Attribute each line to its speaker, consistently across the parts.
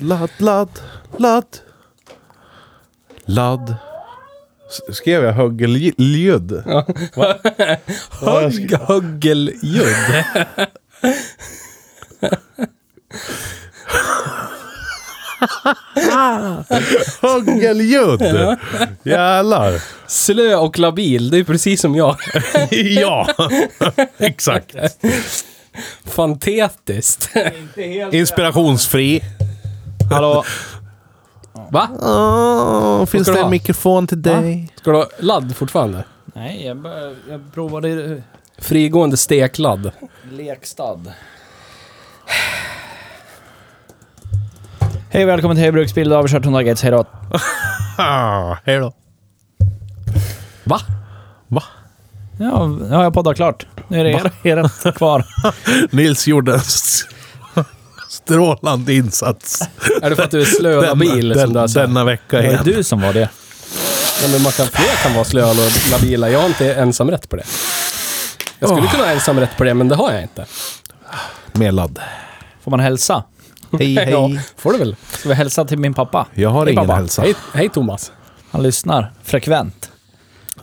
Speaker 1: Ladd, ladd, ladd. Ladd. S- Skrev jag högeljud?
Speaker 2: Högg, höggeljudd.
Speaker 1: Högeljud! Jävlar.
Speaker 2: Slö och labil, det är precis som jag.
Speaker 1: Ja, exakt.
Speaker 2: Fantastiskt.
Speaker 1: Inspirationsfri.
Speaker 2: Hallå? Va?
Speaker 1: Åh, Ah, finns
Speaker 2: ska
Speaker 1: det
Speaker 2: du
Speaker 1: en
Speaker 2: ha?
Speaker 1: mikrofon till dig?
Speaker 2: Ska du ha ladd fortfarande?
Speaker 3: Nej, jag, bara- jag provade eh,
Speaker 2: Frigående stekladd.
Speaker 3: Lekstad. Hej och välkommen till Hej Bruksbil, då har vi kört 100 gates, hejdå.
Speaker 1: Ah, hej då.
Speaker 2: Va?
Speaker 1: Va?
Speaker 3: Ja, nu har jag poddat klart. Nu är det er, er kvar.
Speaker 1: Nils gjorde en s- strålande insats
Speaker 2: Är det för att du är slö och
Speaker 1: denna,
Speaker 2: labil? som
Speaker 1: den,
Speaker 2: du har sagt?
Speaker 1: denna vecka
Speaker 3: Det
Speaker 1: igen.
Speaker 3: var du som var det.
Speaker 2: Nej, men man kan, fler kan vara slö och labila. Jag har inte ensamrätt på det. Jag skulle kunna ha ensamrätt på det, men det har jag inte.
Speaker 1: Med ladd.
Speaker 3: Får man hälsa?
Speaker 1: Hej,
Speaker 2: Ja, får du väl.
Speaker 3: Ska vi hälsa till min pappa?
Speaker 1: Jag har
Speaker 3: Hej,
Speaker 1: ingen
Speaker 3: pappa.
Speaker 1: hälsa.
Speaker 2: Hej, hej Thomas.
Speaker 3: Han lyssnar frekvent.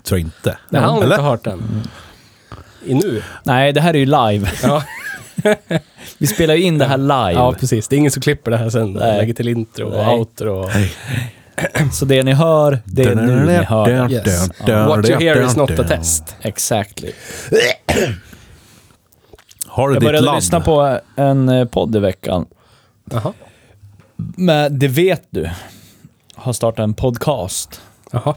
Speaker 1: Tror inte.
Speaker 2: Det här har hon
Speaker 1: Eller?
Speaker 2: inte hört än. I nu.
Speaker 3: Nej, det här är ju live.
Speaker 2: Ja.
Speaker 3: Vi spelar ju in det här live.
Speaker 2: Ja, precis. Det är ingen som klipper det här sen.
Speaker 3: Nej.
Speaker 2: Lägger till intro och
Speaker 3: Nej.
Speaker 2: outro. Och...
Speaker 3: Så det ni hör, det är nu ni hör. det.
Speaker 2: Yes. What you hear is not a test.
Speaker 3: Exactly.
Speaker 1: Har du
Speaker 3: Jag
Speaker 1: ditt
Speaker 3: började
Speaker 1: ladd?
Speaker 3: lyssna på en eh, podd i veckan.
Speaker 2: Jaha.
Speaker 3: Men det vet du. Har startat en podcast.
Speaker 2: Jaha.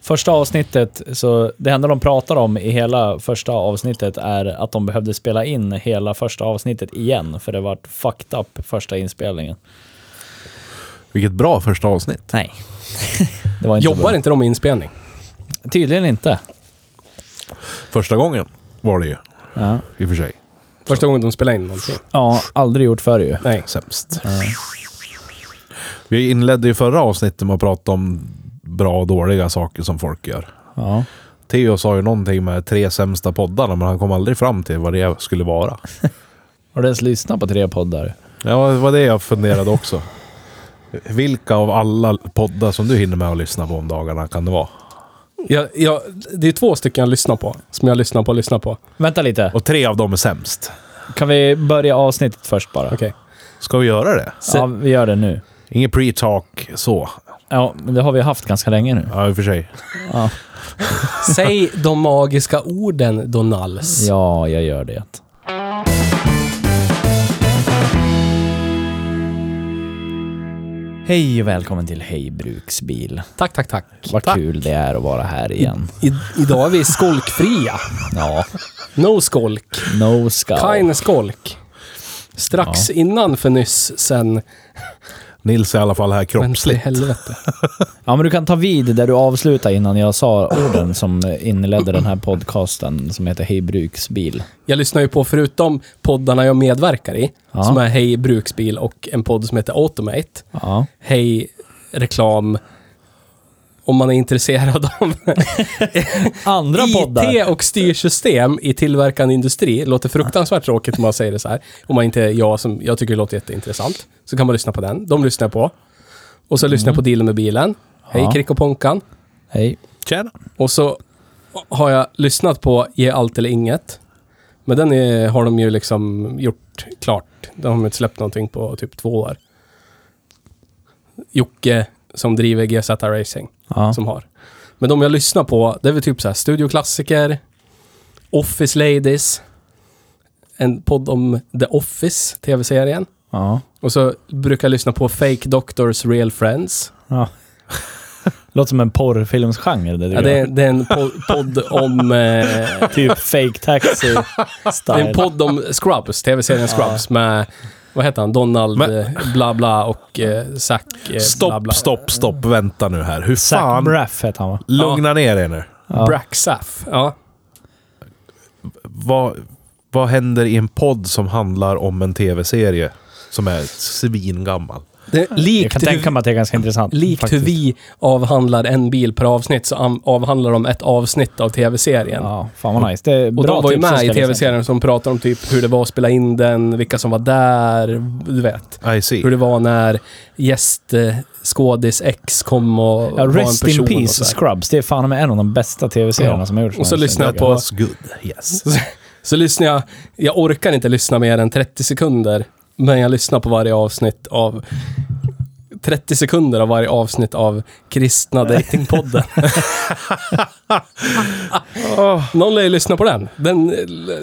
Speaker 3: Första avsnittet, så det enda de pratar om i hela första avsnittet är att de behövde spela in hela första avsnittet igen, för det var fucked up första inspelningen.
Speaker 1: Vilket bra första avsnitt.
Speaker 3: Nej. det var inte
Speaker 2: Jobbar inte de med inspelning?
Speaker 3: bra. Tydligen inte.
Speaker 1: Första gången var det ju,
Speaker 3: Ja.
Speaker 1: i och för sig.
Speaker 2: Första gången de spelar in någonting?
Speaker 3: ja, aldrig gjort förr ju.
Speaker 2: Nej.
Speaker 1: Sämst. Vi inledde ju förra avsnittet med att prata om bra och dåliga saker som folk gör.
Speaker 3: Ja.
Speaker 1: Theo sa ju någonting med tre sämsta poddarna, men han kom aldrig fram till vad det skulle vara.
Speaker 3: Har du ens lyssnat på tre poddar?
Speaker 1: Ja, det var det jag funderade också. Vilka av alla poddar som du hinner med att lyssna på om dagarna kan det vara?
Speaker 2: Jag, jag, det är två stycken jag lyssnar på, som jag lyssnar på och lyssnar på.
Speaker 3: Vänta lite.
Speaker 1: Och tre av dem är sämst.
Speaker 3: Kan vi börja avsnittet först bara?
Speaker 2: Okej.
Speaker 1: Ska vi göra det?
Speaker 3: Ja, vi gör det nu.
Speaker 1: Ingen pre-talk så.
Speaker 3: Ja, men det har vi haft ganska länge nu.
Speaker 1: Ja, i och för sig.
Speaker 3: Ja,
Speaker 2: Säg de magiska orden, Donals.
Speaker 3: ja jag gör det. Hej och välkommen till Hej Bruksbil.
Speaker 2: Tack, tack, tack.
Speaker 3: Vad
Speaker 2: tack.
Speaker 3: kul det är att vara här igen.
Speaker 2: I, idag är vi skolkfria.
Speaker 3: Ja,
Speaker 2: No skolk.
Speaker 3: no skull.
Speaker 2: Kein skolk. Strax innan för nyss sen...
Speaker 1: Nils är i alla fall här
Speaker 2: Vänta i
Speaker 1: kroppsligt.
Speaker 2: helvete.
Speaker 3: Ja, men du kan ta vid där du avslutade innan jag sa orden som inledde den här podcasten som heter Hej Bruksbil.
Speaker 2: Jag lyssnar ju på, förutom poddarna jag medverkar i,
Speaker 3: Ja.
Speaker 2: som är Hej Bruksbil och en podd som heter Automate.
Speaker 3: Ja.
Speaker 2: Hej Reklam. Om man är intresserad av
Speaker 3: Andra poddar.
Speaker 2: IT och styrsystem i tillverkande industri låter fruktansvärt tråkigt om man säger det så här. Om man inte är jag som, jag tycker det låter jätteintressant. Så kan man lyssna på den. De lyssnar jag på. Och så lyssnar jag på Dealen med bilen. Hej
Speaker 3: Mm. Ja.
Speaker 2: Krick och Ponkan.
Speaker 3: Hej.
Speaker 1: Tjena!
Speaker 2: Och så har jag lyssnat på Ge allt eller inget. Men den är, har de ju liksom gjort klart. De har de inte släppt någonting på typ två år. Jocke som driver GZ Racing
Speaker 3: Ja.
Speaker 2: som har. Men de jag lyssnar på, det är väl typ så här studioklassiker, Office Ladies, en podd om The Office, tv-serien.
Speaker 3: ja.
Speaker 2: Och så brukar jag lyssna på Fake Doctors Real Friends.
Speaker 3: Ja. Låter som en porrfilmsgenre. Det,
Speaker 2: Ja, det, är, det är en po- podd om... Eh,
Speaker 3: Typ fake taxi
Speaker 2: det
Speaker 3: style.
Speaker 2: är en podd om Scrubs, tv-serien Scrubs med... Vad heter han? Donald
Speaker 1: Men-
Speaker 2: eh, bla bla och eh, Zac eh, bla
Speaker 1: Stopp,
Speaker 2: bla.
Speaker 1: stopp, stopp. Vänta nu här. Hur
Speaker 3: Zac
Speaker 1: fan...
Speaker 3: Braff heter han va?
Speaker 1: Lugna ner er nu.
Speaker 3: Ja.
Speaker 2: Braxaf. Ja.
Speaker 1: Vad, vad händer i en podd som handlar om en tv-serie som är svingammal?
Speaker 2: Det,
Speaker 3: Jag kan
Speaker 2: likt hur,
Speaker 3: tänka mig att det är ganska intressant.
Speaker 2: likt hur
Speaker 3: faktiskt.
Speaker 2: vi avhandlar en bil per avsnitt så am- avhandlar de ett avsnitt av tv-serien.
Speaker 3: Ja, fan vad nice. Det är
Speaker 2: Och
Speaker 3: bra
Speaker 2: de var ju
Speaker 3: tips, jag
Speaker 2: med
Speaker 3: ska
Speaker 2: i
Speaker 3: lyssna.
Speaker 2: tv-serien som pratade om typ hur det var att spela in den, vilka som var där, du vet.
Speaker 1: I see.
Speaker 2: Hur det var när gästskådis X kom och
Speaker 3: Ja,
Speaker 2: var en
Speaker 3: Rest in
Speaker 2: person. och
Speaker 3: Peace
Speaker 2: så här.
Speaker 3: Scrubs. Det är fan med en av de bästa tv-serierna
Speaker 2: Ja.
Speaker 3: som har gjorts.
Speaker 2: Och så lyssnar jag
Speaker 1: That
Speaker 2: på-
Speaker 1: was good. Yes.
Speaker 2: Så lyssnar jag, jag orkar inte lyssna mer än 30 sekunder, men jag lyssnar på varje avsnitt av 30 sekunder av varje avsnitt av Kristna Datingpodden. Någon lär ju lyssna på den. den. Det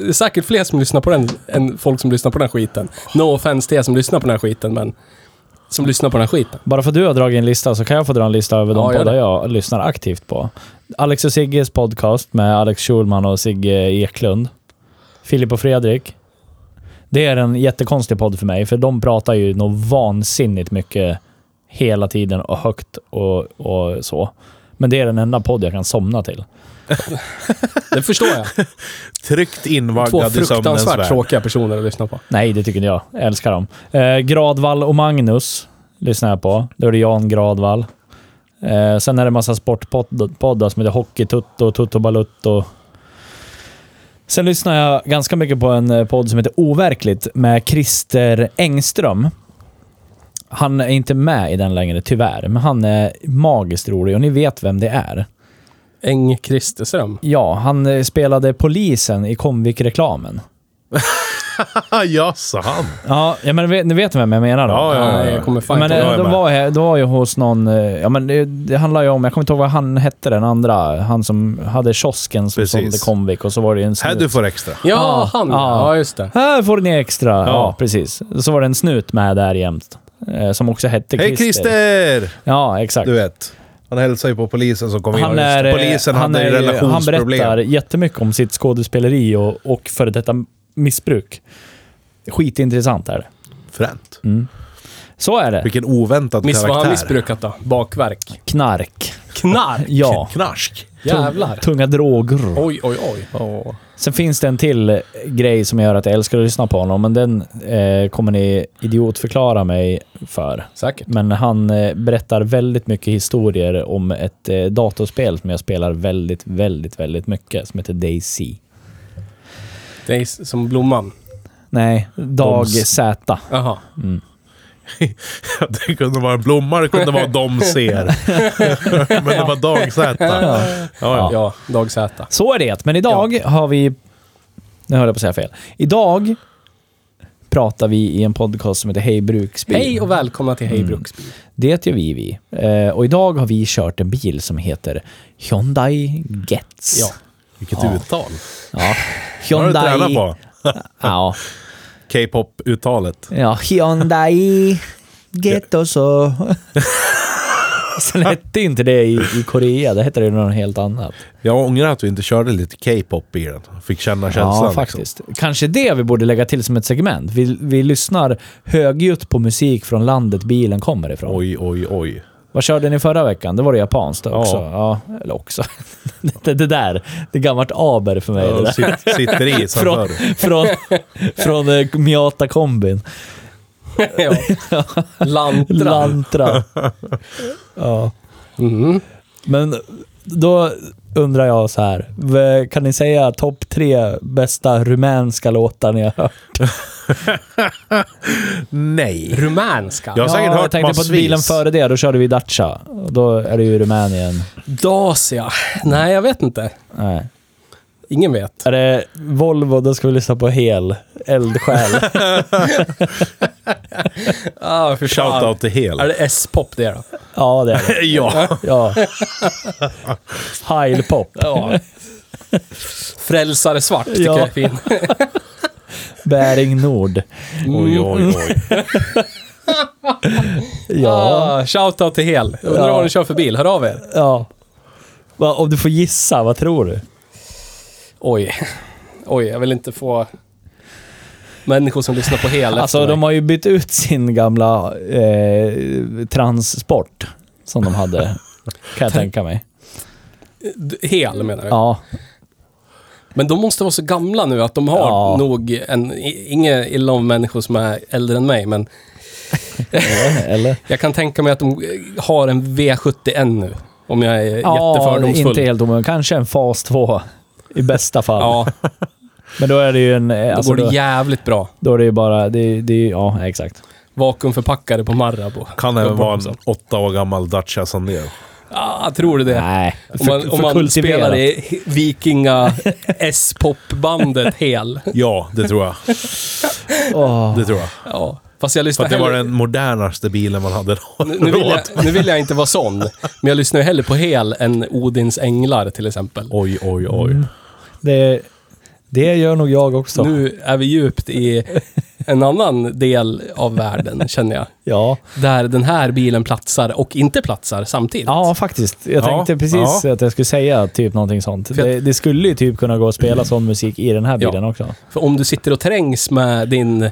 Speaker 2: är säkert fler som lyssnar på den än folk som lyssnar på den här skiten. No offense till er som lyssnar på den här skiten, men som lyssnar på den här skiten.
Speaker 3: Bara för att du har dragit en lista så kan jag få dra en lista över
Speaker 2: Ja,
Speaker 3: de
Speaker 2: gör
Speaker 3: poddar
Speaker 2: det.
Speaker 3: jag lyssnar aktivt på. Alex och Sigges podcast med Alex Schulman och Sigge Eklund. Filip och Fredrik. Det är en jättekonstig podd för mig, för de pratar ju nog vansinnigt mycket hela tiden och högt och, och så. Men det är den enda podd jag kan somna till.
Speaker 2: Det förstår jag.
Speaker 1: Tryckt
Speaker 2: Två
Speaker 1: invaggad i sömnens
Speaker 2: fruktansvärt
Speaker 1: värld.
Speaker 2: tråkiga personer att lyssna på.
Speaker 3: Nej, det tycker inte jag. Jag älskar dem. Eh, Gradvall och Magnus lyssnar jag på. Då är det Jan Gradvall. Eh, sen är det massa sportpoddar som heter Hockeytutto, Tutto Balutto. Sen lyssnar jag ganska mycket på en eh, podd som heter Overkligt med Christer Engström. Han är inte med i den längre, tyvärr, men han är magiskt rolig och ni vet vem det är.
Speaker 2: Eng Kristersson.
Speaker 3: Ja, han eh, spelade polisen i Comvik-reklamen.
Speaker 1: ja, sa han.
Speaker 3: Ja, ja men vet- ni vet vem jag menar då?
Speaker 1: Ja, ja,
Speaker 2: Ja,
Speaker 1: ja.
Speaker 2: jag kommer fan
Speaker 3: Men
Speaker 2: inte ihåg.
Speaker 1: jag
Speaker 3: eh, då
Speaker 1: med.
Speaker 3: var, jag, då var jag hos någon, eh, ja men det, det handlar ju om, jag kommer inte ihåg vad han hette den andra, han som hade kiosken som
Speaker 1: Precis.
Speaker 3: sålde Comvik och så var det en
Speaker 1: Här
Speaker 3: snut.
Speaker 1: du får extra.
Speaker 2: Ja, han.
Speaker 3: Ja.
Speaker 2: Ja, just det.
Speaker 3: Här får ni extra! Ja.
Speaker 1: Ja.
Speaker 3: precis. Så var det en snut med där jämt. eh, Som också hette
Speaker 1: Hej Christer!
Speaker 3: Ja, exakt.
Speaker 1: Du vet. Han hälsar ju på polisen som kom in.
Speaker 3: Han,
Speaker 1: Ja, just
Speaker 3: är,
Speaker 1: det.
Speaker 3: eh,
Speaker 1: polisen
Speaker 3: han,
Speaker 1: hade
Speaker 3: är, han
Speaker 1: relationsproblem.
Speaker 3: berättar jättemycket om sitt skådespeleri och, och före detta missbruk. Skitintressant är det.
Speaker 1: Fränt.
Speaker 3: Så är det.
Speaker 1: Vilken oväntad
Speaker 2: Miss, vad har han
Speaker 1: karaktär.
Speaker 2: missbrukat då? Bakverk?
Speaker 3: Knark.
Speaker 2: Knark?
Speaker 3: Ja.
Speaker 1: Knarsk.
Speaker 2: Jävlar.
Speaker 3: Tunga droger.
Speaker 2: Oj, oj, oj.
Speaker 3: Sen finns det en till eh, grej som gör att jag älskar att lyssna på honom, men den eh, kommer ni idiotförklara mig för.
Speaker 2: Säkert.
Speaker 3: Men han eh, berättar väldigt mycket historier om ett eh, datorspel som jag spelar väldigt, väldigt, väldigt mycket, som heter DayZ.
Speaker 2: Det är s- som blomman.
Speaker 3: Nej, Dag
Speaker 1: Doms.
Speaker 3: Z.
Speaker 2: Jaha.
Speaker 1: det kunde vara en blomma, det kunde vara de ser. Men det var dagsäta. Ja, ja.
Speaker 2: Ja, Dag Z.
Speaker 3: Så är det, men idag har vi... Nu höll jag på att säga fel. Idag pratar vi i en podcast som heter Hej Bruksbil.
Speaker 2: Hej och välkomna till
Speaker 3: Mm.
Speaker 2: Hej Bruksbil.
Speaker 3: Det gör vi. vi. Eh, och idag har vi kört en bil som heter Hyundai Getz.
Speaker 2: Ja.
Speaker 1: Vilket
Speaker 3: Ja.
Speaker 1: uttal.
Speaker 3: ja.
Speaker 1: Har du
Speaker 3: Hyundai...
Speaker 1: tränat på?
Speaker 3: Ja.
Speaker 1: K-pop-uttalet.
Speaker 3: ja. Hyundai Getz och så. Sen hette inte det i, i Korea, det hette det något helt annat.
Speaker 1: Jag ångrar att vi inte körde lite K-pop i den. Fick känna känslan.
Speaker 3: Ja,
Speaker 1: liksom.
Speaker 3: faktiskt. Kanske det vi borde lägga till som ett segment. Vi, vi lyssnar högljutt på musik från landet bilen kommer ifrån.
Speaker 1: Oj, oj, oj.
Speaker 3: Vad körde ni förra veckan? Det var det japanskt också. Ja.
Speaker 1: Ja.
Speaker 3: eller också. det, det där, det är gammalt aber för mig. det
Speaker 1: Ja,
Speaker 3: där.
Speaker 1: sit, sitter i sen
Speaker 3: från,
Speaker 1: förr.
Speaker 3: från, från eh, Miata kombin.
Speaker 2: ja. Lantra.
Speaker 3: Lantra. Ja.
Speaker 2: Mm.
Speaker 3: Men då undrar jag så här. v- Kan ni säga topp tre bästa rumänska låtar ni har hört?
Speaker 1: Nej.
Speaker 2: Rumänska.
Speaker 1: Jag har säkert
Speaker 3: jag
Speaker 1: hört
Speaker 3: tänkte på
Speaker 1: massvis.
Speaker 3: att bilen före det, då körde vi Dacia. Och Då är det ju Rumänien.
Speaker 2: Dacia. Nej, jag vet inte.
Speaker 3: Nej.
Speaker 2: Ingen vet.
Speaker 3: Är det Volvo, då ska vi lyssna på Hel. Eldsjäl.
Speaker 2: Ah, för
Speaker 1: Shoutout till Hel.
Speaker 2: Är det S-pop det då?
Speaker 3: ja, det är det.
Speaker 1: Ja.
Speaker 3: Ja. Heilpop.
Speaker 2: Ja. Frälsare svart tycker
Speaker 3: Ja.
Speaker 2: jag är fin.
Speaker 3: Bäring Nord.
Speaker 1: Oj, oj, oj.
Speaker 3: Ja.
Speaker 2: Ah, shoutout till Hel. Jag Undrar
Speaker 3: Ja.
Speaker 2: vad ni kör för bil. Hör av er.
Speaker 3: ja. Va, om du får gissa, vad tror du?
Speaker 2: Oj. Oj, jag vill inte få människor som lyssnar på Hel
Speaker 3: Alltså
Speaker 2: efter
Speaker 3: de
Speaker 2: mig.
Speaker 3: har ju bytt ut sin gamla eh, transport som de hade. Kan jag tänka mig.
Speaker 2: D- Hel menar du?
Speaker 3: Ja.
Speaker 2: Men de måste vara så gamla nu att de har
Speaker 3: Ja.
Speaker 2: nog en... i- Inget illa om människor som är äldre än mig, men
Speaker 3: Eller?
Speaker 2: jag kan tänka mig att de eh, har en V71 nu. Om jag är
Speaker 3: Ja,
Speaker 2: jättefördomsfull.
Speaker 3: inte helt omöjligt. Kanske en fas 2 i bästa fall.
Speaker 2: Ja,
Speaker 3: Men då är det ju en... eh,
Speaker 2: då
Speaker 3: Alltså,
Speaker 2: går
Speaker 3: då,
Speaker 2: det jävligt bra.
Speaker 3: då är det ju bara... Det, det, är ju- ja, exakt.
Speaker 2: Vakuumförpackade på Marabou.
Speaker 1: Kan även vara en åtta år gammal Dacia Sandero.
Speaker 2: Ah, tror du det?
Speaker 3: Nej.
Speaker 2: Om man, om man
Speaker 3: kultiverat.
Speaker 2: spelar i Vikinga S-popbandet Hel.
Speaker 1: Ja, det tror jag.
Speaker 3: Åh.
Speaker 1: Det tror jag.
Speaker 2: Ja. Fast jag
Speaker 1: För
Speaker 2: lyssnar
Speaker 1: att det var
Speaker 2: hellre...
Speaker 1: den modernaste bilen man hade då.
Speaker 2: Nu, nu, vill jag, nu vill jag inte vara sån, men jag lyssnar ju hellre på Hel än Odins Änglar till exempel.
Speaker 1: Oj, oj, oj.
Speaker 3: Det, det gör nog jag också.
Speaker 2: Nu är vi djupt i en annan del av världen, känner jag.
Speaker 3: Ja.
Speaker 2: Där den här bilen platsar och inte platsar samtidigt.
Speaker 3: ja, faktiskt. Jag
Speaker 1: Ja,
Speaker 3: tänkte precis att jag skulle säga typ någonting sånt.
Speaker 2: jag-
Speaker 3: Det, det skulle ju typ kunna gå att spela sån musik i den här
Speaker 2: Ja.
Speaker 3: bilen också.
Speaker 2: För om du sitter och trängs med din, eh,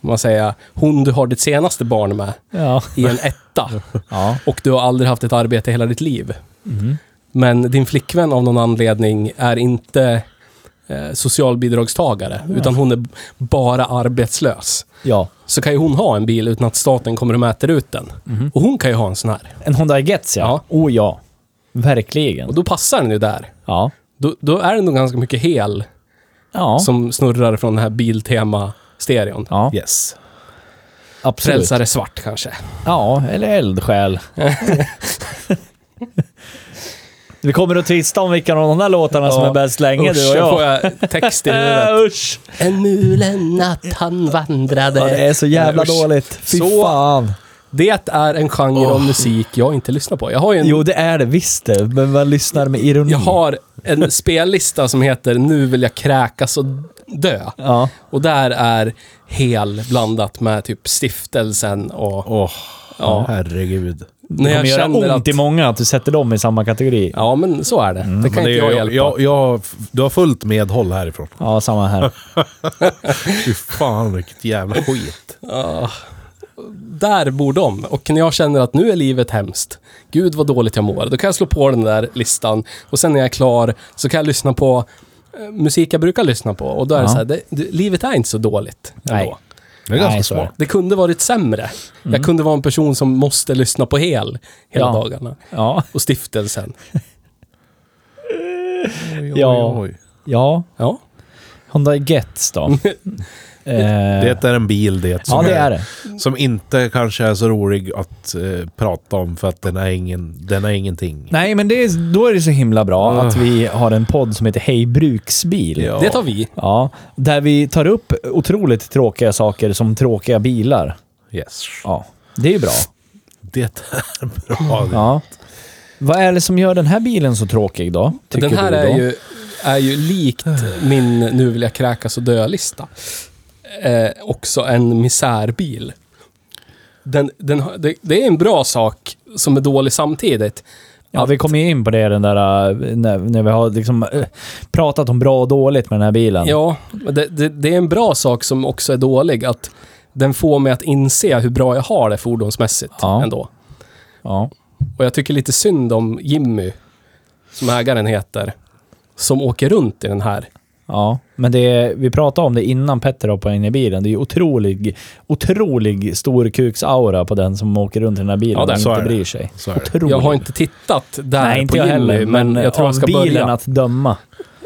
Speaker 2: vad man säger, hon du har ditt senaste barn med
Speaker 3: Ja.
Speaker 2: i en etta
Speaker 3: ja.
Speaker 2: och du har aldrig haft ett arbete i hela ditt liv.
Speaker 3: Mm.
Speaker 2: Men din flickvän av någon anledning är inte eh, socialbidragstagare, utan hon är b- bara arbetslös.
Speaker 3: Ja.
Speaker 2: Så kan ju hon ha en bil utan att staten kommer och mäter ut den.
Speaker 3: Mhm.
Speaker 2: Och hon kan ju ha en sån här.
Speaker 3: En Honda Getz ja.
Speaker 2: Ja.
Speaker 3: Oh ja. Verkligen.
Speaker 2: Och då passar den ju där.
Speaker 3: Ja.
Speaker 2: Då, då är det nog ganska mycket hel
Speaker 3: Ja.
Speaker 2: som snurrar från den här Biltema-stereon.
Speaker 3: ja.
Speaker 1: Yes.
Speaker 3: Absolut.
Speaker 2: Frälsare svart kanske.
Speaker 3: Ja, eller eldsjäl. Vi kommer att tvista om vilka av de här låtarna som
Speaker 2: Ja.
Speaker 3: är bäst länge,
Speaker 2: Usch,
Speaker 3: du och
Speaker 2: jag får
Speaker 3: jag.
Speaker 2: jag text i huvudet.
Speaker 3: Äh, usch!
Speaker 2: En mulen natt han vandrade. Eh,
Speaker 3: Ja, det är så jävla
Speaker 2: Usch.
Speaker 3: dåligt. Fy
Speaker 2: Så-
Speaker 3: fan.
Speaker 2: Det är en genre av musik jag inte lyssnar på. Jag har ju en,
Speaker 3: Jo, det är det visst det. Men man lyssnar med ironi.
Speaker 2: jag har en spellista som heter Nu vill jag kräkas och dö.
Speaker 3: Ja.
Speaker 2: Och där är hel blandat med typ stiftelsen och...
Speaker 1: Åh,
Speaker 2: Ja.
Speaker 1: herregud.
Speaker 3: Det
Speaker 2: När
Speaker 3: kommer
Speaker 2: jag
Speaker 3: göra
Speaker 2: känner
Speaker 3: ont Mm,
Speaker 2: att...
Speaker 3: i många att du sätter dem i samma kategori. Ja,
Speaker 2: Ja, men så är det. Det kan
Speaker 1: Men det,
Speaker 2: inte jag,
Speaker 1: jag,
Speaker 2: hjälpa.
Speaker 1: jag, jag, du har fullt medhåll härifrån.
Speaker 3: samma här.
Speaker 1: Fy fan, vilket jävla skit.
Speaker 2: Där bor de. Och när jag känner att nu är livet hemskt, gud vad dåligt jag mår, då kan jag slå på den där listan. Och sen när jag är klar så kan jag lyssna på eh, musik jag brukar lyssna på. Och då är det
Speaker 3: Ja.
Speaker 2: så här, det, det, livet är inte så dåligt ändå.
Speaker 3: Nej.
Speaker 1: Det är ganska
Speaker 3: Nej, så är
Speaker 1: smart.
Speaker 2: Det kunde varit sämre. Jag kunde vara en person som måste lyssna på hel hela
Speaker 3: Mm. Ja.
Speaker 2: dagarna.
Speaker 3: Ja.
Speaker 2: Och stiftelsen.
Speaker 1: Oj,
Speaker 3: Ja. Ja.
Speaker 2: Ja.
Speaker 3: Honda Getz då. det
Speaker 1: Det är en bil det.
Speaker 3: Ja, det är det.
Speaker 1: Som inte kanske är så rolig att eh, prata om för att den är, ingen, den är ingenting.
Speaker 3: Nej, men det är, då är det så himla bra
Speaker 2: Ah.
Speaker 3: att vi har en podd som heter Hej Bruksbil.
Speaker 1: Ja.
Speaker 2: Det tar vi.
Speaker 3: Ja, där vi tar upp otroligt tråkiga saker som tråkiga bilar.
Speaker 1: Yes.
Speaker 3: Ja, det är ju bra.
Speaker 1: Det är bra. det.
Speaker 3: Ja. Vad är det som gör den här bilen så tråkig då? Tycker
Speaker 2: Den här
Speaker 3: du då? Äh.
Speaker 2: är ju, är ju likt min nu vill jag kräkas och dö-lista. Eh, också en misärbil. Den, den, har- det, det är en bra sak som är dålig samtidigt.
Speaker 3: Ja, vi kom ju in på det den där, äh, när, när vi har liksom äh, pratat om bra och dåligt med den här bilen.
Speaker 2: Ja, men det, det, det är en bra sak som också är dålig. Att den får mig att inse hur bra jag har det fordonsmässigt
Speaker 3: Ja.
Speaker 2: ändå.
Speaker 3: Ja.
Speaker 2: Och jag tycker lite synd om Jimmy, som ägaren heter, som åker runt i den här.
Speaker 3: Ja, men det, vi pratade om det innan Petter hoppade in i bilen. Det är ju otrolig, otrolig storkuksaura på den som åker runt i den här bilen
Speaker 2: Ja, det-
Speaker 3: och
Speaker 1: så är
Speaker 3: inte
Speaker 1: det.
Speaker 3: bryr sig.
Speaker 1: Så är det.
Speaker 3: Otrolig.
Speaker 2: Jag har inte tittat där
Speaker 3: Nej, inte
Speaker 2: på
Speaker 3: jag
Speaker 2: Jimmy,
Speaker 3: heller,
Speaker 2: men jag tror
Speaker 3: av
Speaker 2: jag ska
Speaker 3: bilen
Speaker 2: börja.
Speaker 3: att döma.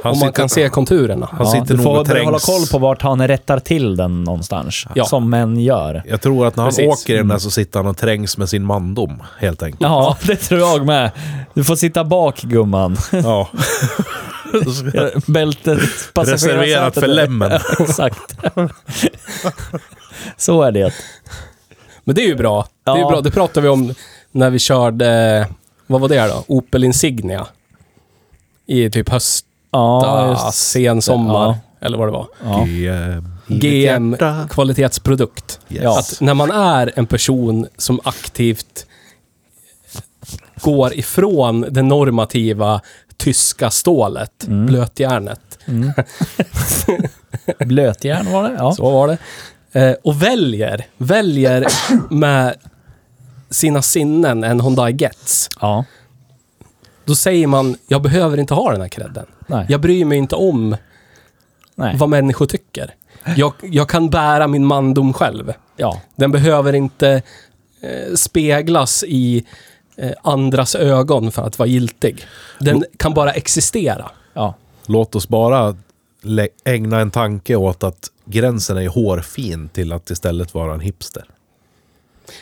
Speaker 1: Han
Speaker 2: Om man kan se konturerna.
Speaker 1: Han sitter
Speaker 3: du
Speaker 1: nog
Speaker 3: får
Speaker 1: och
Speaker 3: börja hålla
Speaker 1: trängs.
Speaker 3: koll på vart han rättar till den någonstans.
Speaker 2: Ja.
Speaker 3: Som män gör.
Speaker 1: Jag tror att när han
Speaker 2: Precis.
Speaker 1: åker i den där så sitter han och trängs med sin mandom, helt enkelt.
Speaker 3: Mm. Ja, det tror jag med. Du får sitta bak gumman.
Speaker 1: Ja.
Speaker 3: Bältet, passagerarsätet.
Speaker 1: Reserverat för lämmen.
Speaker 3: Exakt. Så är det.
Speaker 2: Men det är ju bra. Det är ju
Speaker 3: Ja.
Speaker 2: bra. Det pratade vi om när vi körde, vad var det då? Opel Insignia. I typ höst,
Speaker 3: Ja,
Speaker 2: sen sommar.
Speaker 3: Ja.
Speaker 2: Eller vad det var.
Speaker 3: Ja.
Speaker 1: I, eh,
Speaker 2: GM,
Speaker 1: hjärta.
Speaker 2: kvalitetsprodukt.
Speaker 3: Ja.
Speaker 2: Att när man är en person som aktivt går ifrån det normativa tyska stålet,
Speaker 3: Mm.
Speaker 2: blötjärnet,
Speaker 3: Blötjärn var det? Ja.
Speaker 2: så var det, eh, och väljer, väljer med sina sinnen en Hyundai Gets,
Speaker 3: ja.
Speaker 2: då säger man, jag behöver inte ha den här credden.
Speaker 3: Nej.
Speaker 2: Jag bryr mig inte om
Speaker 3: Nej.
Speaker 2: vad människor tycker. Jag, jag kan bära min mandom själv.
Speaker 3: Ja.
Speaker 2: Den behöver inte eh, speglas i eh, andras ögon för att vara giltig.
Speaker 1: Mm.
Speaker 2: Den kan bara existera.
Speaker 3: Ja.
Speaker 1: Låt oss bara lä- ägna en tanke åt att gränsen är hårfin till att istället vara en hipster.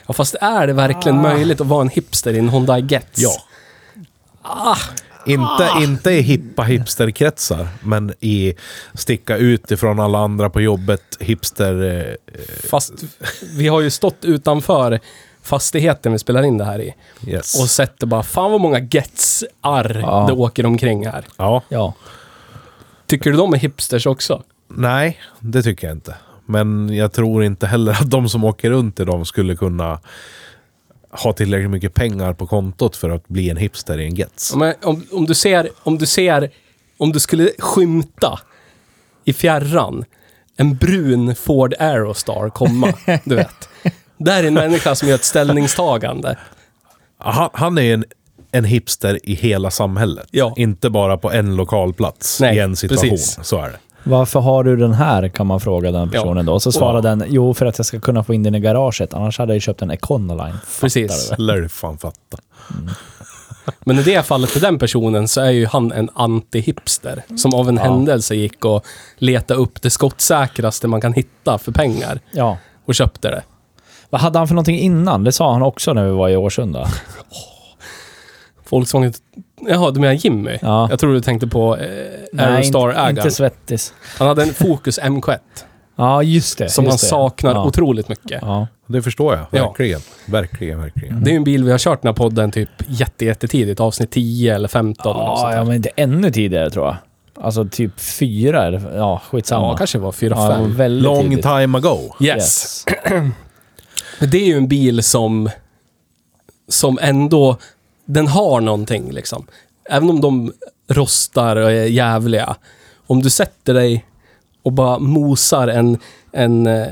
Speaker 2: Ja, fast är det verkligen möjligt att vara en hipster i en Honda Gets?
Speaker 1: Ah. Ja. Inte,
Speaker 3: Ah.
Speaker 1: inte i hippa hipsterkretsar, men i sticka ut ifrån alla andra på jobbet, hipster... Eh,
Speaker 2: Fast vi har ju stått utanför fastigheten vi spelar in det här i
Speaker 1: yes.
Speaker 2: och sett det bara, fan vad många Getsar
Speaker 3: Ja.
Speaker 2: det åker omkring här.
Speaker 1: ja.
Speaker 3: Ja.
Speaker 2: Tycker du de är hipsters också?
Speaker 1: Nej, det tycker jag inte. Men jag tror inte heller att de som åker runt i dem skulle kunna ha tillräckligt mycket pengar på kontot för att bli en hipster i en Gets.
Speaker 2: Ja, Men om, om du ser, om du ser, om du skulle skymta i fjärran en brun Ford Aerostar komma, du vet. Där är en människa som gör ett ställningstagande.
Speaker 1: Han, han är ju en, en hipster i hela samhället.
Speaker 2: Ja.
Speaker 1: Inte bara på en lokal plats
Speaker 2: Nej,
Speaker 1: i en situation.
Speaker 2: precis.
Speaker 1: Så är det.
Speaker 3: Varför har du den här? Kan man fråga den personen
Speaker 2: Ja.
Speaker 3: då. Så svarar
Speaker 2: Ja.
Speaker 3: den, jo för att jag ska kunna få in den i garaget. Annars hade jag ju köpt en Econoline.
Speaker 2: Precis.
Speaker 1: Lär du fan fatta.
Speaker 2: Men i det fallet för den personen så är ju han en anti-hipster. Som av en händelse gick och letade upp det skottsäkraste man kan hitta för pengar.
Speaker 3: Ja.
Speaker 2: Och köpte det.
Speaker 3: Vad hade han för någonting innan? Det sa han också när vi var i Årsunda.
Speaker 2: Volkswagen... Jaha, du menar Jimmy?
Speaker 3: Ja.
Speaker 2: Jag tror du tänkte på eh,
Speaker 3: Nej, inte-
Speaker 2: Aerostar-ägaren.
Speaker 3: inte svettis.
Speaker 2: Han hade en Focus M1.
Speaker 3: Ja, just det.
Speaker 2: Som
Speaker 3: Eh, just
Speaker 2: han
Speaker 3: det.
Speaker 2: saknar
Speaker 3: ja.
Speaker 2: otroligt mycket.
Speaker 3: Ja.
Speaker 1: Det förstår jag.
Speaker 2: Ja.
Speaker 1: Verkligen. Verkligen, verkligen.
Speaker 2: Det är ju en bil vi har kört den här podden typ jätte, jättetidigt, avsnitt 10 eller 15. eller något sånt
Speaker 3: Ja,
Speaker 2: där.
Speaker 3: ja, men det är ännu tidigare tror jag. Alltså typ fyra, eller ja, skitsamma.
Speaker 2: ja, kanske var 4,
Speaker 3: Ja,
Speaker 2: 5.
Speaker 3: väldigt
Speaker 1: Long
Speaker 3: tidigt.
Speaker 1: time ago.
Speaker 2: yes. Men det är ju en bil som, som ändå, den har någonting liksom. Även om de rostar och är jävliga. Om du sätter dig och bara mosar en, en eh,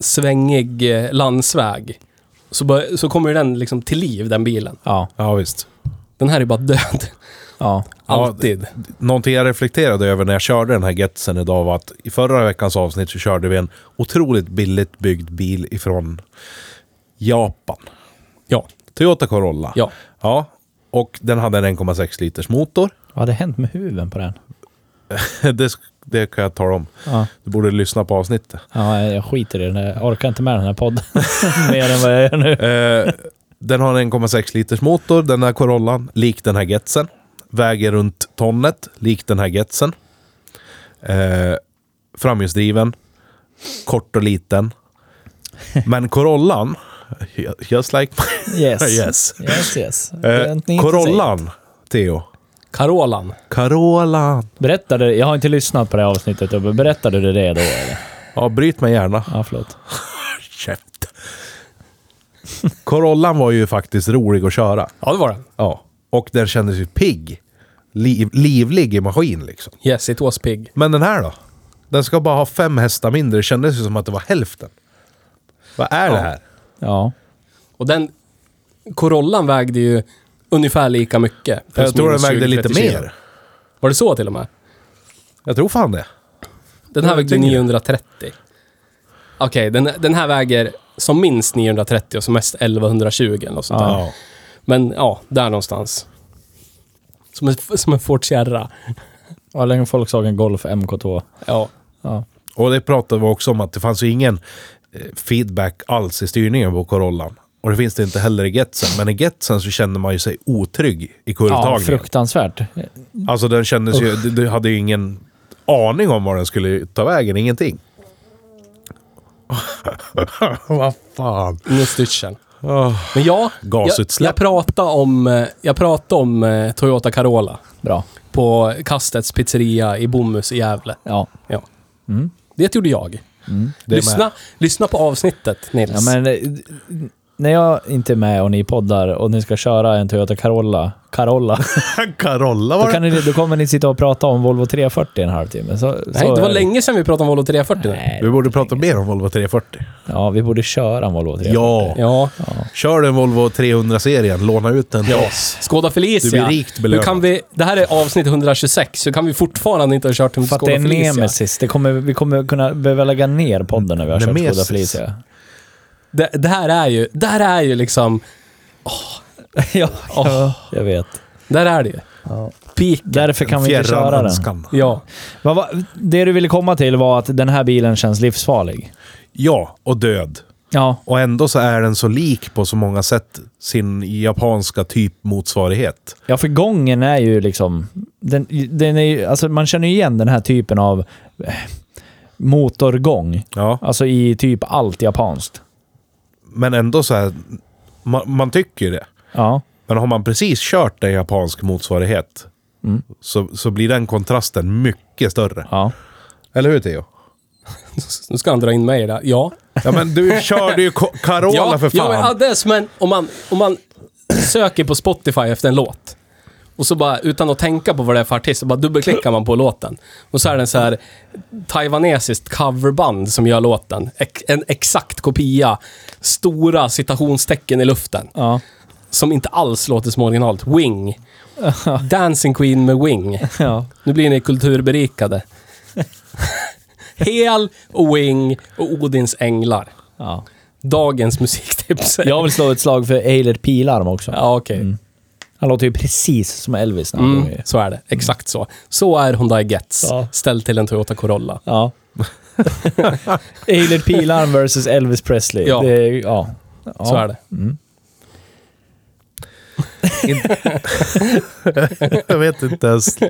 Speaker 2: svängig eh, landsväg. Så, bör, så kommer ju den liksom till liv, den bilen.
Speaker 3: Ja,
Speaker 1: Ja, visst.
Speaker 2: Den här är bara död.
Speaker 3: ja.
Speaker 1: Ja,
Speaker 2: Alltid.
Speaker 1: Någonting jag reflekterade över när jag körde den här Getsen idag var att i förra veckans avsnitt så körde vi en otroligt billigt byggd bil ifrån Japan.
Speaker 2: Ja.
Speaker 1: Toyota Corolla.
Speaker 2: Ja.
Speaker 1: ja och den hade en 1,6 liters motor.
Speaker 3: Vad hade hänt med huven på den?
Speaker 1: det, sk- det kan jag tala om.
Speaker 3: Ja.
Speaker 1: Du borde lyssna på avsnittet.
Speaker 3: Ja, jag skiter i den. här. Jag orkar inte med den här podden mer än vad jag gör nu.
Speaker 1: Eh, den har en 1,6 liters motor, den här Corollan, lik den här Getsen. Väger runt tonnet, lik den här Getsen. Eh, framhjulsdriven, kort och liten. Men Corollan, just like my...
Speaker 3: Yes.
Speaker 1: Yes.
Speaker 3: Yes, yes.
Speaker 1: Eh,
Speaker 3: Vänta, inte
Speaker 1: Corollan, Theo.
Speaker 2: Carolan.
Speaker 1: Carolan.
Speaker 3: säg. Berättade, jag har inte lyssnat på det här avsnittet. Ubbe. Berättade du det då? Eller?
Speaker 1: Ja, bryt mig gärna.
Speaker 3: Ja, förlåt.
Speaker 1: Käft. Corollan var ju faktiskt rolig att köra.
Speaker 2: Ja, det var den.
Speaker 1: Ja. Och den kändes ju pigg. Liv, livlig i maskin liksom.
Speaker 2: Yes, it was pig.
Speaker 1: Men den här då? Den ska bara ha fem hästar mindre. Det kändes ju som att det var hälften. Vad är det här?
Speaker 3: Ja.
Speaker 2: Och den... Corollan vägde ju ungefär lika mycket. plus
Speaker 1: Jag tror den
Speaker 2: minus
Speaker 1: vägde lite
Speaker 2: 20-30 kilo.
Speaker 1: mer.
Speaker 2: Var det så till och med?
Speaker 1: Jag tror fan det.
Speaker 2: Den här
Speaker 1: Jag
Speaker 2: vägde
Speaker 1: tycker det.
Speaker 2: 930. Okej, den, den här väger som minst 930 och som mest 1120 eller något sånt där.
Speaker 1: Ja.
Speaker 2: Men ja, där någonstans. Som en, som en Ford Sierra.
Speaker 3: Ja, länge Volkswagen Golf MK2.
Speaker 2: Ja.
Speaker 3: Ja.
Speaker 1: Och det pratade vi också om att det fanns ju ingen eh, feedback alls i styrningen på Corollan. Och det finns det inte heller i Getsen. Men i Getsen så kände man ju sig otrygg i
Speaker 3: ja,
Speaker 1: kurvtagningen.
Speaker 3: fruktansvärt.
Speaker 1: alltså den kändes ju... Du, du hade ju ingen aning om var den skulle ta vägen. Ingenting. Vad fan.
Speaker 2: Ingen styrseln.
Speaker 1: Åh.
Speaker 2: Men ja,
Speaker 1: Gasutsläpp.
Speaker 2: Jag, jag pratade om, eh, jag pratade om eh, Toyota Carola
Speaker 3: Bra.
Speaker 2: på Kastets pizzeria i Bomhus i Gävle.
Speaker 3: Ja.
Speaker 2: Ja. Det gjorde jag.
Speaker 1: Det är med.
Speaker 2: Lyssna, lyssna på avsnittet, Nils.
Speaker 3: Ja, men, eh, när jag inte är med och ni poddar och ni ska köra en Toyota Carolla, Carolla
Speaker 1: Carolla
Speaker 3: då,
Speaker 1: var det.
Speaker 3: kan ni, då kommer ni sitta och prata om Volvo 340 en halvtimme. Så,
Speaker 2: Nej,
Speaker 3: så
Speaker 2: det var
Speaker 3: är
Speaker 2: länge sedan vi pratade om Volvo 340.
Speaker 3: Nej,
Speaker 1: Vi borde prata mer om Volvo 340.
Speaker 3: Ja, vi borde köra en Volvo 340.
Speaker 1: Ja.
Speaker 2: Ja.
Speaker 1: Kör den Volvo 300-serien. Låna ut den till
Speaker 2: ja.
Speaker 1: oss.
Speaker 2: Skåda
Speaker 1: Du
Speaker 2: Felicia.
Speaker 1: blir rikt belönad.
Speaker 2: Nu kan vi, det här är avsnitt 126, så kan vi fortfarande inte ha kört en
Speaker 3: För att det
Speaker 2: Skåda
Speaker 3: är
Speaker 2: Felicia.
Speaker 3: nemesis. Det kommer, vi kommer kunna behöva lägga ner podden när vi har kört
Speaker 1: Nemesis.
Speaker 3: Skoda Felicia.
Speaker 2: Det, det här är ju, där är ju liksom,
Speaker 3: ja,
Speaker 2: Åh.
Speaker 3: jag vet.
Speaker 2: där är det ju. Peak.
Speaker 3: Därför kan vi inte
Speaker 1: Fjärran
Speaker 3: köra den.
Speaker 1: önskan.
Speaker 2: Ja.
Speaker 3: Vad var- det du ville komma till var att den här bilen känns livsfarlig.
Speaker 1: Ja, och död.
Speaker 3: Ja,
Speaker 1: Och ändå så är den så lik på så många sätt sin japanska typmotsvarighet.
Speaker 3: Ja, för gången är ju liksom... Den, den är ju, alltså man känner ju igen den här typen av eh, motorgång.
Speaker 1: Ja,
Speaker 3: Alltså i typ allt japanskt.
Speaker 1: men ändå så här... Man, man tycker det.
Speaker 3: Ja.
Speaker 1: Men har man precis kört en japansk motsvarighet så, så blir den kontrasten mycket större.
Speaker 3: ja.
Speaker 1: Eller hur Theo?
Speaker 2: Nu ska han dra in mig i det här. Ja.
Speaker 1: Ja men du körde ju Ko- Carola
Speaker 2: ja,
Speaker 1: för
Speaker 2: Ja,
Speaker 1: fan.
Speaker 2: men, Addes, men om man, om man söker på Spotify efter en låt och så bara, utan att tänka på vad det är för artist, så bara dubbelklickar man på låten. Och så är det en så här taiwanesiskt coverband som gör låten. Ex- en exakt kopia, stora citationstecken i luften.
Speaker 3: ja.
Speaker 2: Som inte alls låter som originalet. Wing. Dancing Queen med Wing.
Speaker 3: ja.
Speaker 2: Nu blir ni kulturberikade. Hel, Wing och Odins änglar.
Speaker 3: ja.
Speaker 2: Dagens musiktips.
Speaker 3: Jag vill slå ett slag för Eilert Pilarm också.
Speaker 2: Ja, okej.
Speaker 3: Mm. Han låter ju precis som Elvis när han
Speaker 2: Mm,
Speaker 3: sjunger.
Speaker 2: så är det. Exakt så. Så är Hyundai Getz.
Speaker 3: Ja.
Speaker 2: Ställd till en Toyota Corolla.
Speaker 3: Ja. Eilert Pilarm versus Elvis Presley.
Speaker 2: Ja.
Speaker 3: Det är, ju- ja. ja.
Speaker 2: Så är det.
Speaker 1: Jag vet inte ens. Ja.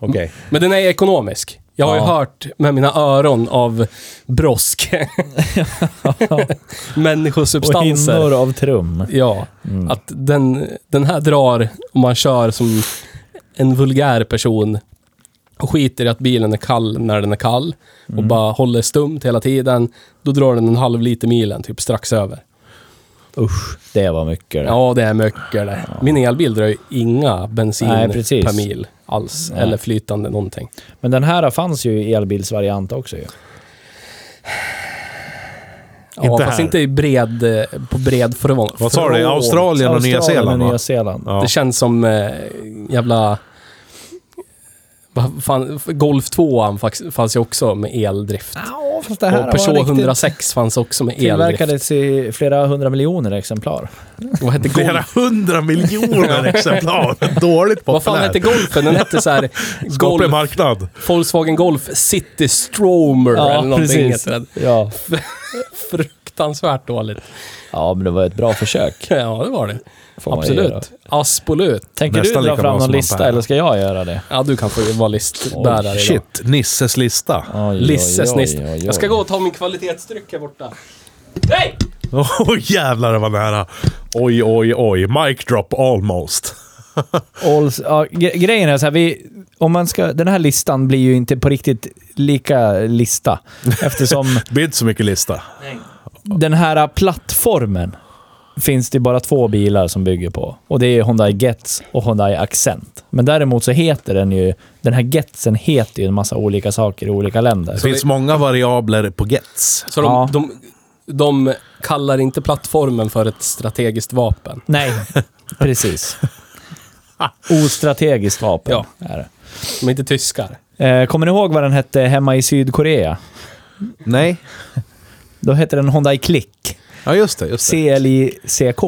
Speaker 1: Okej.
Speaker 2: Men den är ekonomisk. Jag har
Speaker 3: Ja.
Speaker 2: ju hört med mina öron av brosk.
Speaker 3: Och
Speaker 2: Människosubstanser.
Speaker 3: hinnor Mm. av trum.
Speaker 2: Ja, att den, den här drar, om man kör som en vulgär person och skiter i att bilen är kall när den är kall och
Speaker 3: Mm.
Speaker 2: bara håller stumt hela tiden, då drar den en halv liter milen, typ strax över.
Speaker 3: Usch, det var mycket det.
Speaker 2: Ja, det är mycket det. Min elbil drar ju inga bensin
Speaker 3: Nej, precis.
Speaker 2: per mil alls, eller flytande någonting.
Speaker 3: Men den här fanns ju i elbilsvariant också ju.
Speaker 2: Ja,
Speaker 1: Inte
Speaker 2: fast
Speaker 1: här.
Speaker 2: inte i bred, eh, på bred front.
Speaker 1: Vad sa du? Australien och Nya Zeeland
Speaker 3: och
Speaker 1: va?
Speaker 3: Nya Zeeland.
Speaker 1: Ja.
Speaker 2: Det känns som eh, jävla... Vad fan, Golf 2 fanns- fanns ju också med eldrift.
Speaker 3: Ja, fast det här
Speaker 2: Och
Speaker 3: var
Speaker 2: Peugeot
Speaker 3: riktigt-
Speaker 2: 106 fanns också med eldrift.
Speaker 3: Tillverkades i flera hundra miljoner exemplar.
Speaker 2: Vad hette
Speaker 1: Flera
Speaker 2: Golf?
Speaker 1: hundra miljoner exemplar. Dåligt
Speaker 2: Vad fan hette
Speaker 1: populär.
Speaker 2: Golfen? Den hette så här
Speaker 1: Skaplig
Speaker 2: Golf,
Speaker 1: marknad.
Speaker 2: Volkswagen Golf City Stromer eller någonting. heter den.
Speaker 3: Ja.
Speaker 2: Fruktansvärt dåligt.
Speaker 3: ja, men det var ett bra försök.
Speaker 2: Ja, det var det.
Speaker 3: Får man ju göra.
Speaker 2: Absolut. Absolut.
Speaker 3: Tänker
Speaker 1: Nästan
Speaker 3: du dra
Speaker 1: lika bra
Speaker 3: fram någon
Speaker 1: som
Speaker 3: lista
Speaker 1: Ampere.
Speaker 3: eller ska jag göra det?
Speaker 2: Ja, du kan få vara listbärare idag.
Speaker 1: Shit, Nisses lista.
Speaker 3: Oj, oj,
Speaker 2: Lisses
Speaker 3: oj,
Speaker 2: nist.
Speaker 3: oj, oj.
Speaker 2: Jag ska gå och ta min kvalitetsdryck här borta. Nej!
Speaker 1: Åh jävlar, det var nära. Oj, oj, oj. Mic drop almost.
Speaker 3: All, ja, gre- grejen är så här, vi, om man ska, den här listan blir ju inte på riktigt lika lista. Eftersom
Speaker 1: Det blir inte så mycket lista.
Speaker 3: den här plattformen finns det bara två bilar som bygger på. Och det är Hyundai Getz och Hyundai Accent. Men däremot så heter den ju... Den här Getsen heter ju en massa olika saker i olika länder.
Speaker 1: Det finns många variabler på Gets.
Speaker 2: Så de,
Speaker 3: Ja.
Speaker 2: de, de kallar inte plattformen för ett strategiskt vapen.
Speaker 3: Nej, precis. Ostrategiskt vapen
Speaker 2: Ja.
Speaker 3: är det.
Speaker 2: De är inte tyskar.
Speaker 3: Eh, kommer ni ihåg vad den hette hemma i Sydkorea?
Speaker 1: Nej.
Speaker 3: Då hette den Hyundai Click.
Speaker 1: Ja, just det. Just det.
Speaker 3: CLICK.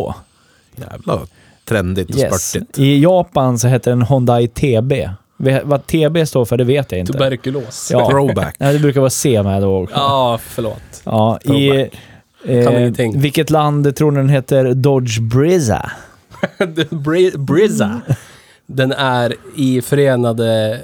Speaker 1: Jävla trendigt och
Speaker 3: Yes.
Speaker 1: spurtigt.
Speaker 3: I Japan så hette den Hyundai TB. Ve- Vad TB står för, det vet jag inte.
Speaker 2: Tuberkulos.
Speaker 3: Ja.
Speaker 1: Throwback.
Speaker 3: Nej, det brukar vara C med då också.
Speaker 2: Ja, förlåt.
Speaker 3: Ja, i...
Speaker 2: Kan
Speaker 3: Eh,
Speaker 2: ingenting.
Speaker 3: vilket land tror ni den heter Dodge Brisa?
Speaker 2: Bri- Brizza. Den är i Förenade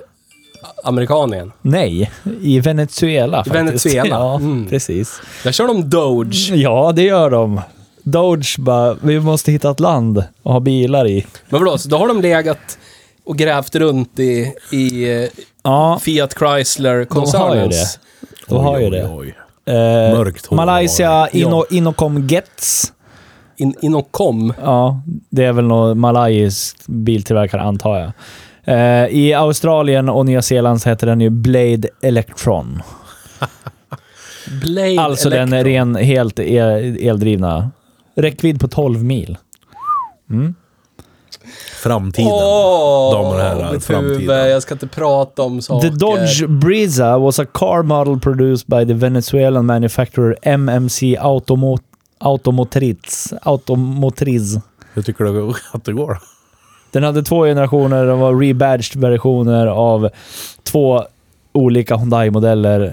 Speaker 2: Amerikanien.
Speaker 3: Nej, i Venezuela faktiskt.
Speaker 2: Venezuela,
Speaker 3: Ja,
Speaker 2: mm.
Speaker 3: precis.
Speaker 2: Där kör de Doge.
Speaker 3: Ja, det gör de. Dodge bara, vi måste hitta ett land och ha bilar i.
Speaker 2: Men vadå, så då har de legat och grävt runt i, i eh,
Speaker 3: Ja,
Speaker 2: Fiat Chrysler
Speaker 3: de har ju
Speaker 2: koncernens
Speaker 3: det. De har ju det.
Speaker 1: oj.
Speaker 3: Eh,
Speaker 1: Mörkt hår
Speaker 3: Malaysia
Speaker 1: har
Speaker 3: Ino, Inocom Gets.
Speaker 2: In, Inocom.
Speaker 3: Ja, det är väl någon malaysisk biltillverkare antar jag. Eh, I Australien och Nya Zeeland så heter den ju Blade Electron.
Speaker 2: Blade
Speaker 3: Alltså den
Speaker 2: Electron.
Speaker 3: ren, helt el, eldrivna. Räckvidd på 12 mil.
Speaker 1: Framtiden.
Speaker 2: Åh,
Speaker 1: damer och herrar,
Speaker 2: mitt
Speaker 1: framtiden.
Speaker 2: huvud, Jag ska inte prata om saker.
Speaker 3: The Dodge Brisa was a car model produced by the Venezuelan manufacturer MMC Automo Automotriz. Automotriz.
Speaker 1: Hur tycker du att det går?
Speaker 3: Den hade två generationer, den var rebadged versioner av två olika Hyundai-modeller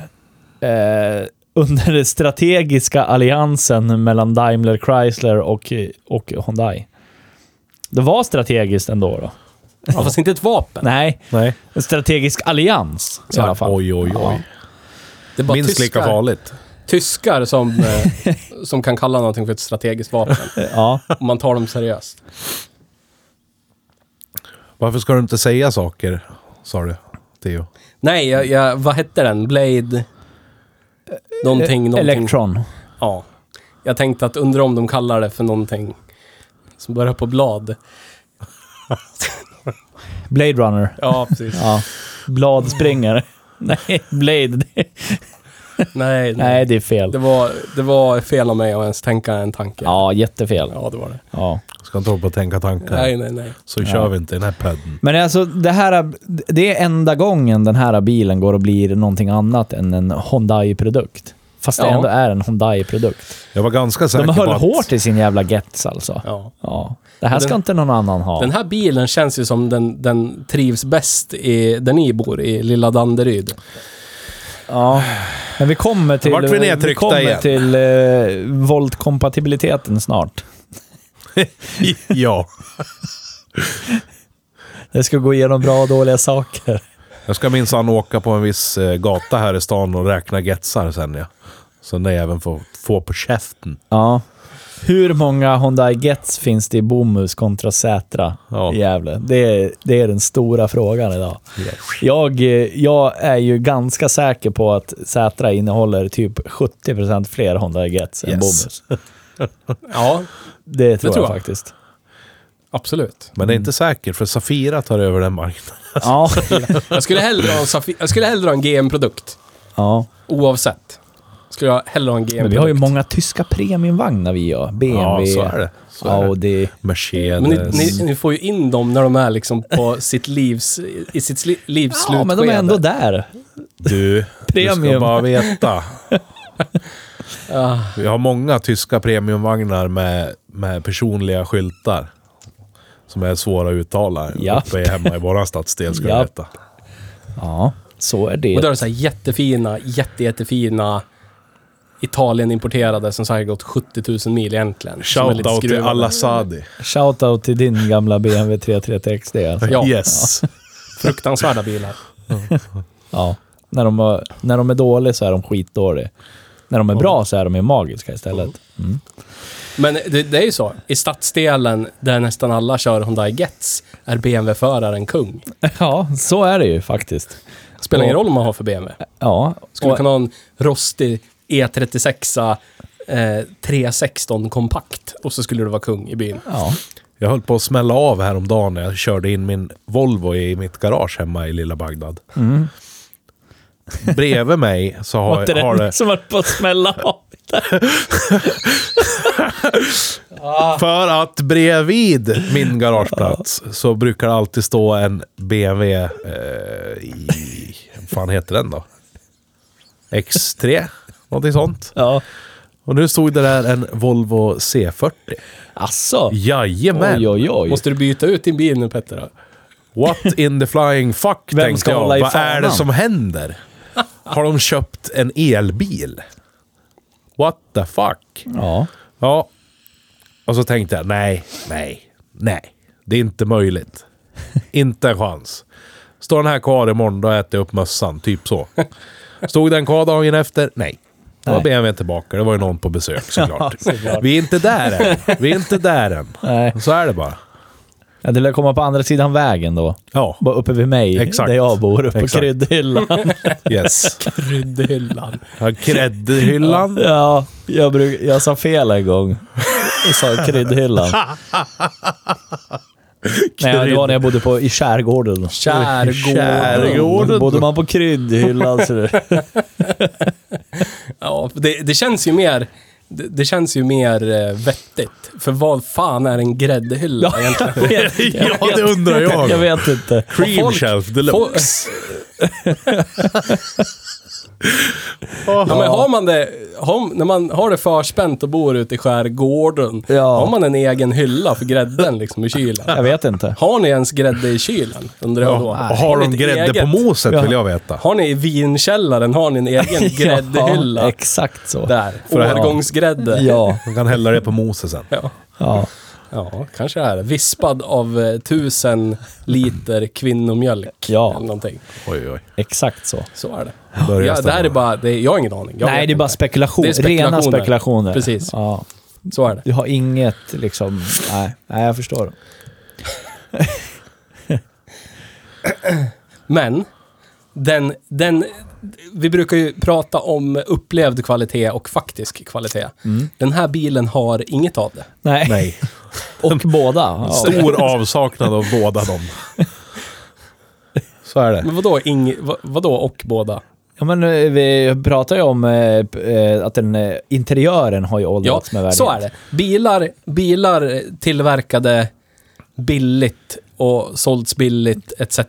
Speaker 3: eh, under den strategiska alliansen mellan Daimler Chrysler och, och Hyundai. Det var strategiskt ändå då.
Speaker 2: Ja, fast inte ett vapen.
Speaker 3: Nej,
Speaker 1: Nej.
Speaker 3: en strategisk allians i alla fall.
Speaker 1: Oj, oj, oj.
Speaker 2: Det är bara
Speaker 1: Minst
Speaker 2: tyskar,
Speaker 1: lika farligt.
Speaker 2: tyskar som, eh, som kan kalla någonting för ett strategiskt vapen.
Speaker 3: Eh, Ja.
Speaker 2: Om man tar dem seriöst.
Speaker 1: Varför ska du inte säga saker? Sa du, Theo.
Speaker 2: Nej, jag, jag, vad hette den? Blade... Någonting, någonting.
Speaker 3: Eh, Electron.
Speaker 2: Ja. Jag tänkte att undra om de kallar det för någonting som börjar på blad.
Speaker 3: Blade Runner.
Speaker 2: Ja, precis.
Speaker 3: Ja. Bladsprängare. Nej, Blade. Det,
Speaker 2: nej, nej.
Speaker 3: nej, det är fel.
Speaker 2: Det, var, det var fel av mig att ens tänka en tanke.
Speaker 3: Ja, jättefel.
Speaker 2: Ja, det var det.
Speaker 3: Ja.
Speaker 1: Ska inte hålla på att tänka tankar.
Speaker 2: Nej, nej, nej.
Speaker 1: Så kör vi inte i den här padden.
Speaker 3: Men alltså, det här det är enda gången den här bilen går och blir någonting annat än en Hyundai-produkt. Fast det
Speaker 2: Ja.
Speaker 3: ändå är en Hyundai-produkt.
Speaker 1: Jag var ganska säker
Speaker 3: De
Speaker 1: på
Speaker 3: höll
Speaker 1: att...
Speaker 3: hårt i sin jävla Getz alltså.
Speaker 2: Ja.
Speaker 3: Ja. Det här
Speaker 2: den-
Speaker 3: ska inte någon annan ha.
Speaker 2: Den här bilen känns ju som den, den trivs bäst i, där ni bor, i lilla Danderyd.
Speaker 3: Ja. Men vi kommer till,
Speaker 1: Vart vi nedtryckta
Speaker 3: kommer
Speaker 1: igen.
Speaker 3: till eh, voltkompatibiliteten snart.
Speaker 1: ja.
Speaker 3: Det ska gå igenom bra och dåliga saker.
Speaker 1: Jag ska minsann åka på en viss eh, gata här i stan och räkna getsar sen ja. Så när jag även får få på käften.
Speaker 3: Ja. Hur många Hyundai Gets finns det i Bomhus kontra Sätra
Speaker 1: Ja.
Speaker 3: i Gävle? Det är, det är den stora frågan idag. Jag, eh, jag är ju ganska säker på att Sätra innehåller typ 70% fler Hyundai Gets än
Speaker 1: Yes.
Speaker 3: Bomhus.
Speaker 2: Ja,
Speaker 3: Det tror,
Speaker 2: tror
Speaker 3: jag,
Speaker 2: jag.
Speaker 3: faktiskt.
Speaker 2: absolut.
Speaker 1: Men det är inte säkert för Safira tar över den marknaden.
Speaker 3: Ja.
Speaker 2: Jag skulle hellre ha en, Safi- jag skulle hellre ha en GM-produkt.
Speaker 3: ja.
Speaker 2: Oavsett. Skulle jag hellre ha en GM-produkt.
Speaker 3: Men vi har ju många tyska premiumvagnar vi gör. BMW,
Speaker 1: Ja, så är det. Så är det.
Speaker 3: Audi.
Speaker 1: Mercedes.
Speaker 2: Men ni,
Speaker 3: eh,
Speaker 2: ni, ni får ju in dem när de är liksom på sitt livs... I sitt sli- livs
Speaker 3: Ja, men de är
Speaker 2: slutskede.
Speaker 3: ändå där.
Speaker 1: Du, du ska
Speaker 3: Premium.
Speaker 1: bara veta.
Speaker 2: Ah.
Speaker 1: Vi har många tyska premiumvagnar med, med personliga skyltar. Som är svåra att uttala.
Speaker 3: Japp.
Speaker 1: Uppe hemma i våran stadsdel ska du
Speaker 3: Japp.
Speaker 1: veta.
Speaker 3: Ja, så är
Speaker 2: Och då är
Speaker 3: det.
Speaker 2: det så här jättefina, jätte, jättefina Italien-importerade som säkert gått 70 000 mil egentligen. som är lite
Speaker 1: Shoutout till
Speaker 2: skruvade.
Speaker 1: alla Sadi.
Speaker 3: Shoutout till din gamla BMW 330 XD. Alltså.
Speaker 2: Ja.
Speaker 1: Yes.
Speaker 2: Fruktansvärda bilar.
Speaker 3: Ja. När de, har, när de är dåliga så är de skitdåliga. När de är bra så är de ju magiska istället. Mm.
Speaker 2: Men det, det är ju så. I stadsdelen där nästan alla kör Hyundai Getz är BMW-föraren kung.
Speaker 3: Ja, så är det ju faktiskt.
Speaker 2: Spelar ingen roll om man har för BMW.
Speaker 3: Ja,
Speaker 2: Skulle
Speaker 3: och-
Speaker 2: kunna ha en rostig E36 eh, 316 kompakt och så skulle du vara kung i byn.
Speaker 3: ja.
Speaker 1: Jag höll på att smälla av häromdagen när jag körde in min Volvo i mitt garage hemma i lilla Bagdad.
Speaker 3: Mm.
Speaker 1: Bredvid mig så
Speaker 3: Var
Speaker 1: har,
Speaker 3: inte
Speaker 1: har
Speaker 3: det
Speaker 1: det...
Speaker 3: som var på att smälla av?
Speaker 1: För att bredvid min garageplats så brukar det alltid stå en BMW... Eh, i, vad fan heter den då? X3? Någonting sånt.
Speaker 3: Ja.
Speaker 1: Och nu stod det där en Volvo C40.
Speaker 3: Asså?
Speaker 1: Jajamän!
Speaker 3: Oj, oj, oj.
Speaker 2: Måste du byta ut din bil nu Petter? då?
Speaker 1: What in the flying fuck,
Speaker 3: Vem
Speaker 1: tänkte
Speaker 3: ska
Speaker 1: jag.
Speaker 3: hålla i
Speaker 1: Vad är det
Speaker 3: fanan?
Speaker 1: som händer? Har de köpt en elbil? What the fuck?
Speaker 3: Ja.
Speaker 1: Ja. Och så tänkte jag, nej, nej, nej. Det är inte möjligt. Inte en chans. Står den här kvar imorgon, då äter jag upp mössan. Typ så. Stod den kvar dagen efter? Nej. Då var
Speaker 3: Nej.
Speaker 1: BMW tillbaka. Det var ju någon på besök såklart.
Speaker 3: såklart.
Speaker 1: Vi är inte där än. Vi är inte där än.
Speaker 3: Nej.
Speaker 1: Så är det bara.
Speaker 3: Ja, det lär komma på andra sidan vägen då.
Speaker 1: Ja,
Speaker 3: Bara uppe vid mig,
Speaker 1: Exakt.
Speaker 3: där jag bor, uppe på
Speaker 1: Exakt.
Speaker 3: kryddhyllan.
Speaker 1: yes.
Speaker 2: Kryddhyllan.
Speaker 1: Ja, Gräddhyllan.
Speaker 3: ja, jag, bruk, jag sa fel en gång. Jag sa kryddhyllan. Nej, det var när jag bodde på, i skärgården.
Speaker 2: Kärgården.
Speaker 1: Skärgården.
Speaker 3: Bodde man på kryddhyllan så det...
Speaker 2: Ja, det, det känns ju mer... Det, det känns ju mer eh, vettigt. För vad fan är en gräddhylla egentligen?
Speaker 1: Ja, det undrar jag.
Speaker 3: Jag vet inte.
Speaker 1: Cream
Speaker 2: Folk-
Speaker 1: shelf deluxe.
Speaker 2: Ja, men har man det, har, när man har det förspänt och bor ute i skärgården,
Speaker 3: Ja.
Speaker 2: har man en egen hylla för grädden liksom i kylen?
Speaker 3: Jag vet inte.
Speaker 2: Har ni ens grädde i kylen? Undrar jag då.
Speaker 1: Och har de
Speaker 2: ni ett
Speaker 1: grädde på
Speaker 2: eget?
Speaker 1: moset
Speaker 3: Ja.
Speaker 1: vill jag veta.
Speaker 2: Har ni i vinkällaren, har ni en egen
Speaker 3: Ja,
Speaker 2: gräddhylla?
Speaker 3: exakt så.
Speaker 2: Där.
Speaker 3: För det här-
Speaker 2: Årgångsgrädde.
Speaker 3: Ja,
Speaker 1: De kan hälla det på moset sen.
Speaker 2: ja.
Speaker 3: ja.
Speaker 2: Ja, kanske är det. Vispad av eh, tusen liter kvinnomjölk.
Speaker 3: Ja.
Speaker 2: Eller någonting.
Speaker 1: Oj, oj.
Speaker 3: Exakt så.
Speaker 2: Så är det.
Speaker 1: Börjar
Speaker 2: Ja, det här
Speaker 1: stämma.
Speaker 2: är bara, det, jag har ingen aning. Jag
Speaker 3: Nej,
Speaker 2: vet
Speaker 3: det är bara
Speaker 2: inte.
Speaker 3: spekulation.
Speaker 2: Det är spekulationer.
Speaker 3: Rena spekulationer.
Speaker 2: Precis.
Speaker 3: Ja.
Speaker 2: Så är det.
Speaker 3: Du har inget liksom... Nej, nej jag förstår.
Speaker 2: Men, den, den, vi brukar ju prata om upplevd kvalitet och faktisk kvalitet. Den här bilen har inget av det.
Speaker 3: Nej.
Speaker 1: Nej.
Speaker 3: Och båda. Ja.
Speaker 1: Stor avsaknad av båda dem. Så är det.
Speaker 2: Men vadå, ing, vad, vadå och båda?
Speaker 3: Ja, men, eh, vi pratar ju om eh, p- eh, att den, eh, interiören har ju
Speaker 2: Ja,
Speaker 3: åldrats med värdighet.
Speaker 2: så är det. Bilar, bilar tillverkade billigt och sålts billigt etc.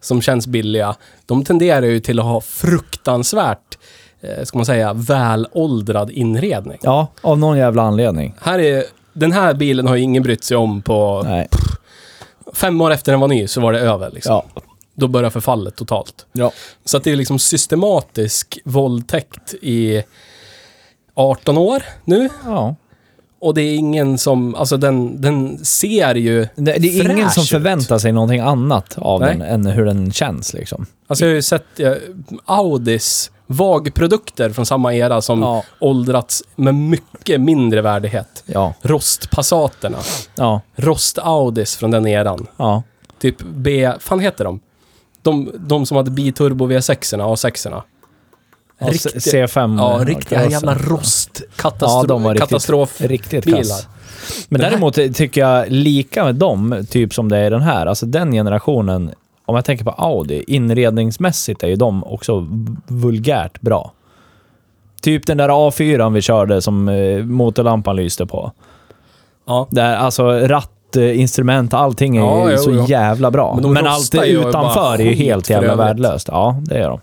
Speaker 2: som känns billiga. De tenderar ju till att ha fruktansvärt, eh, ska man säga, välåldrad inredning.
Speaker 3: Ja, av någon jävla anledning.
Speaker 2: Här är, den här bilen har ju ingen brytt sig om på
Speaker 3: Nej.
Speaker 2: fem år efter den var ny så var det över. Liksom.
Speaker 3: Ja.
Speaker 2: Då började förfallet totalt.
Speaker 3: ja.
Speaker 2: Så att det är liksom systematisk våldtäkt i 18 år nu.
Speaker 3: ja.
Speaker 2: Och det är ingen som, alltså den, den ser ju...
Speaker 3: Det, det är ingen
Speaker 2: fräsch
Speaker 3: som
Speaker 2: ut.
Speaker 3: förväntar sig någonting annat av
Speaker 2: Nej.
Speaker 3: den än hur den känns liksom.
Speaker 2: Alltså jag har ju sett eh, Audis vagprodukter från samma era som
Speaker 3: Ja.
Speaker 2: åldrats med mycket mindre värdighet.
Speaker 3: Ja.
Speaker 2: Rostpassaterna,
Speaker 3: Ja.
Speaker 2: rost-Audis från den eran.
Speaker 3: Ja.
Speaker 2: Typ B, fan heter de? De, de som hade biturbo V6-erna, A6-erna.
Speaker 3: Ja,
Speaker 2: Riktigt-
Speaker 3: C5.
Speaker 2: Ja,
Speaker 3: eh,
Speaker 2: riktiga
Speaker 3: klassen.
Speaker 2: jävla
Speaker 3: Ja, de
Speaker 2: rostkatastrof.
Speaker 3: var riktigt-
Speaker 2: katastrof.
Speaker 3: Riktigt
Speaker 2: bilar.
Speaker 3: kass. Men
Speaker 2: Den här-
Speaker 3: däremot tycker jag lika med dem, typ som det är den här. Alltså den generationen, om jag tänker på Audi, inredningsmässigt är ju de också v- vulgärt bra. Typ den där A4 vi körde som eh, motorlampan lyste på.
Speaker 2: Ja.
Speaker 3: Där, alltså ratt, eh, instrument, allting är
Speaker 2: Ja,
Speaker 3: ju
Speaker 2: jo,
Speaker 3: så
Speaker 2: jo.
Speaker 3: jävla bra.
Speaker 2: Men
Speaker 3: Men,
Speaker 2: de
Speaker 3: allt
Speaker 2: rostar ju och är
Speaker 3: utanför
Speaker 2: bara
Speaker 3: är ju
Speaker 2: skit
Speaker 3: helt
Speaker 2: för
Speaker 3: jävla
Speaker 2: övrigt.
Speaker 3: värdelöst. Ja, det är de.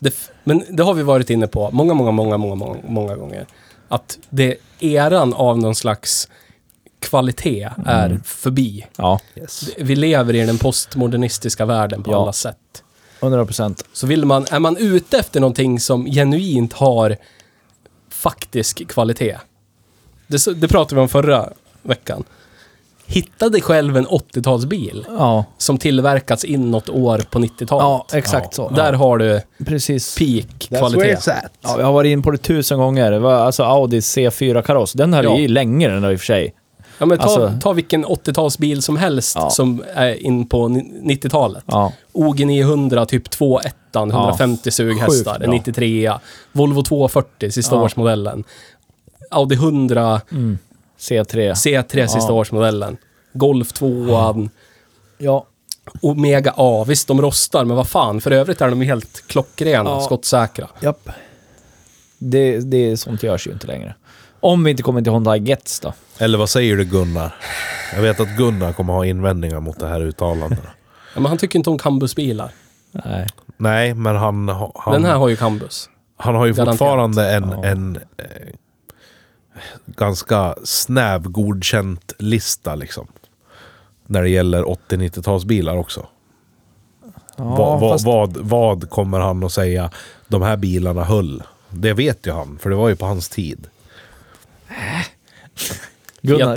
Speaker 2: Det, f- men det har vi varit inne på många, många, många, många, många, många gånger. Att det eran av någon slags kvalitet är
Speaker 3: Mm.
Speaker 2: förbi.
Speaker 3: Ja,
Speaker 2: Vi lever i den postmodernistiska världen på
Speaker 3: Ja.
Speaker 2: alla sätt.
Speaker 3: 100 procent.
Speaker 2: Så vill man, är man ute efter någonting som genuint har faktisk kvalitet. Det, s- det pratade vi om förra veckan. Hitta dig själv en 80-talsbil
Speaker 3: Ja.
Speaker 2: som tillverkats in något år på 90-talet.
Speaker 3: ja, exakt så.
Speaker 2: Där har du
Speaker 3: Precis.
Speaker 2: peak kvalitet.
Speaker 3: Ja, jag har varit in på det tusen gånger. Det var Alltså Audi C4-kaross, den höll
Speaker 2: Ja.
Speaker 3: ju i länge den där i och för sig.
Speaker 2: Ja, men ta,
Speaker 3: Alltså-
Speaker 2: ta vilken 80-talsbil som helst
Speaker 3: Ja.
Speaker 2: som är in på ni- 90-talet.
Speaker 3: Ja.
Speaker 2: OG 900, typ 2.1, 150 sughästar,
Speaker 3: bra.
Speaker 2: 93, Volvo 240, sista
Speaker 3: Ja.
Speaker 2: årsmodellen. Audi 100,
Speaker 3: C3.
Speaker 2: C3, sista
Speaker 3: Ja.
Speaker 2: årsmodellen. Golf 2an,
Speaker 3: ja.
Speaker 2: Omega A. Visst, de rostar, men vad fan. För övrigt är de ju helt klockrena,
Speaker 3: Ja.
Speaker 2: skottsäkra.
Speaker 3: Japp. Det, det, sånt görs ju inte längre. Om vi inte kommer till Honda Gets då.
Speaker 1: Eller vad säger du Gunnar? Jag vet att Gunnar kommer ha invändningar mot det här uttalandet.
Speaker 2: Ja, men han tycker inte om Cambusbilar.
Speaker 3: Nej.
Speaker 1: Nej, men han, ha- han,
Speaker 2: Den här har ju Cambus.
Speaker 1: han har ju
Speaker 2: Garanterat.
Speaker 1: fortfarande en,
Speaker 3: Ja.
Speaker 1: en eh, ganska snäv godkänt lista liksom. När det gäller 80-90-talsbilar också.
Speaker 3: Ja,
Speaker 1: vad, vad,
Speaker 3: fast-
Speaker 1: vad, vad kommer han att säga? De här bilarna höll. Det vet ju han, för det var ju på hans tid.
Speaker 3: Gunnar,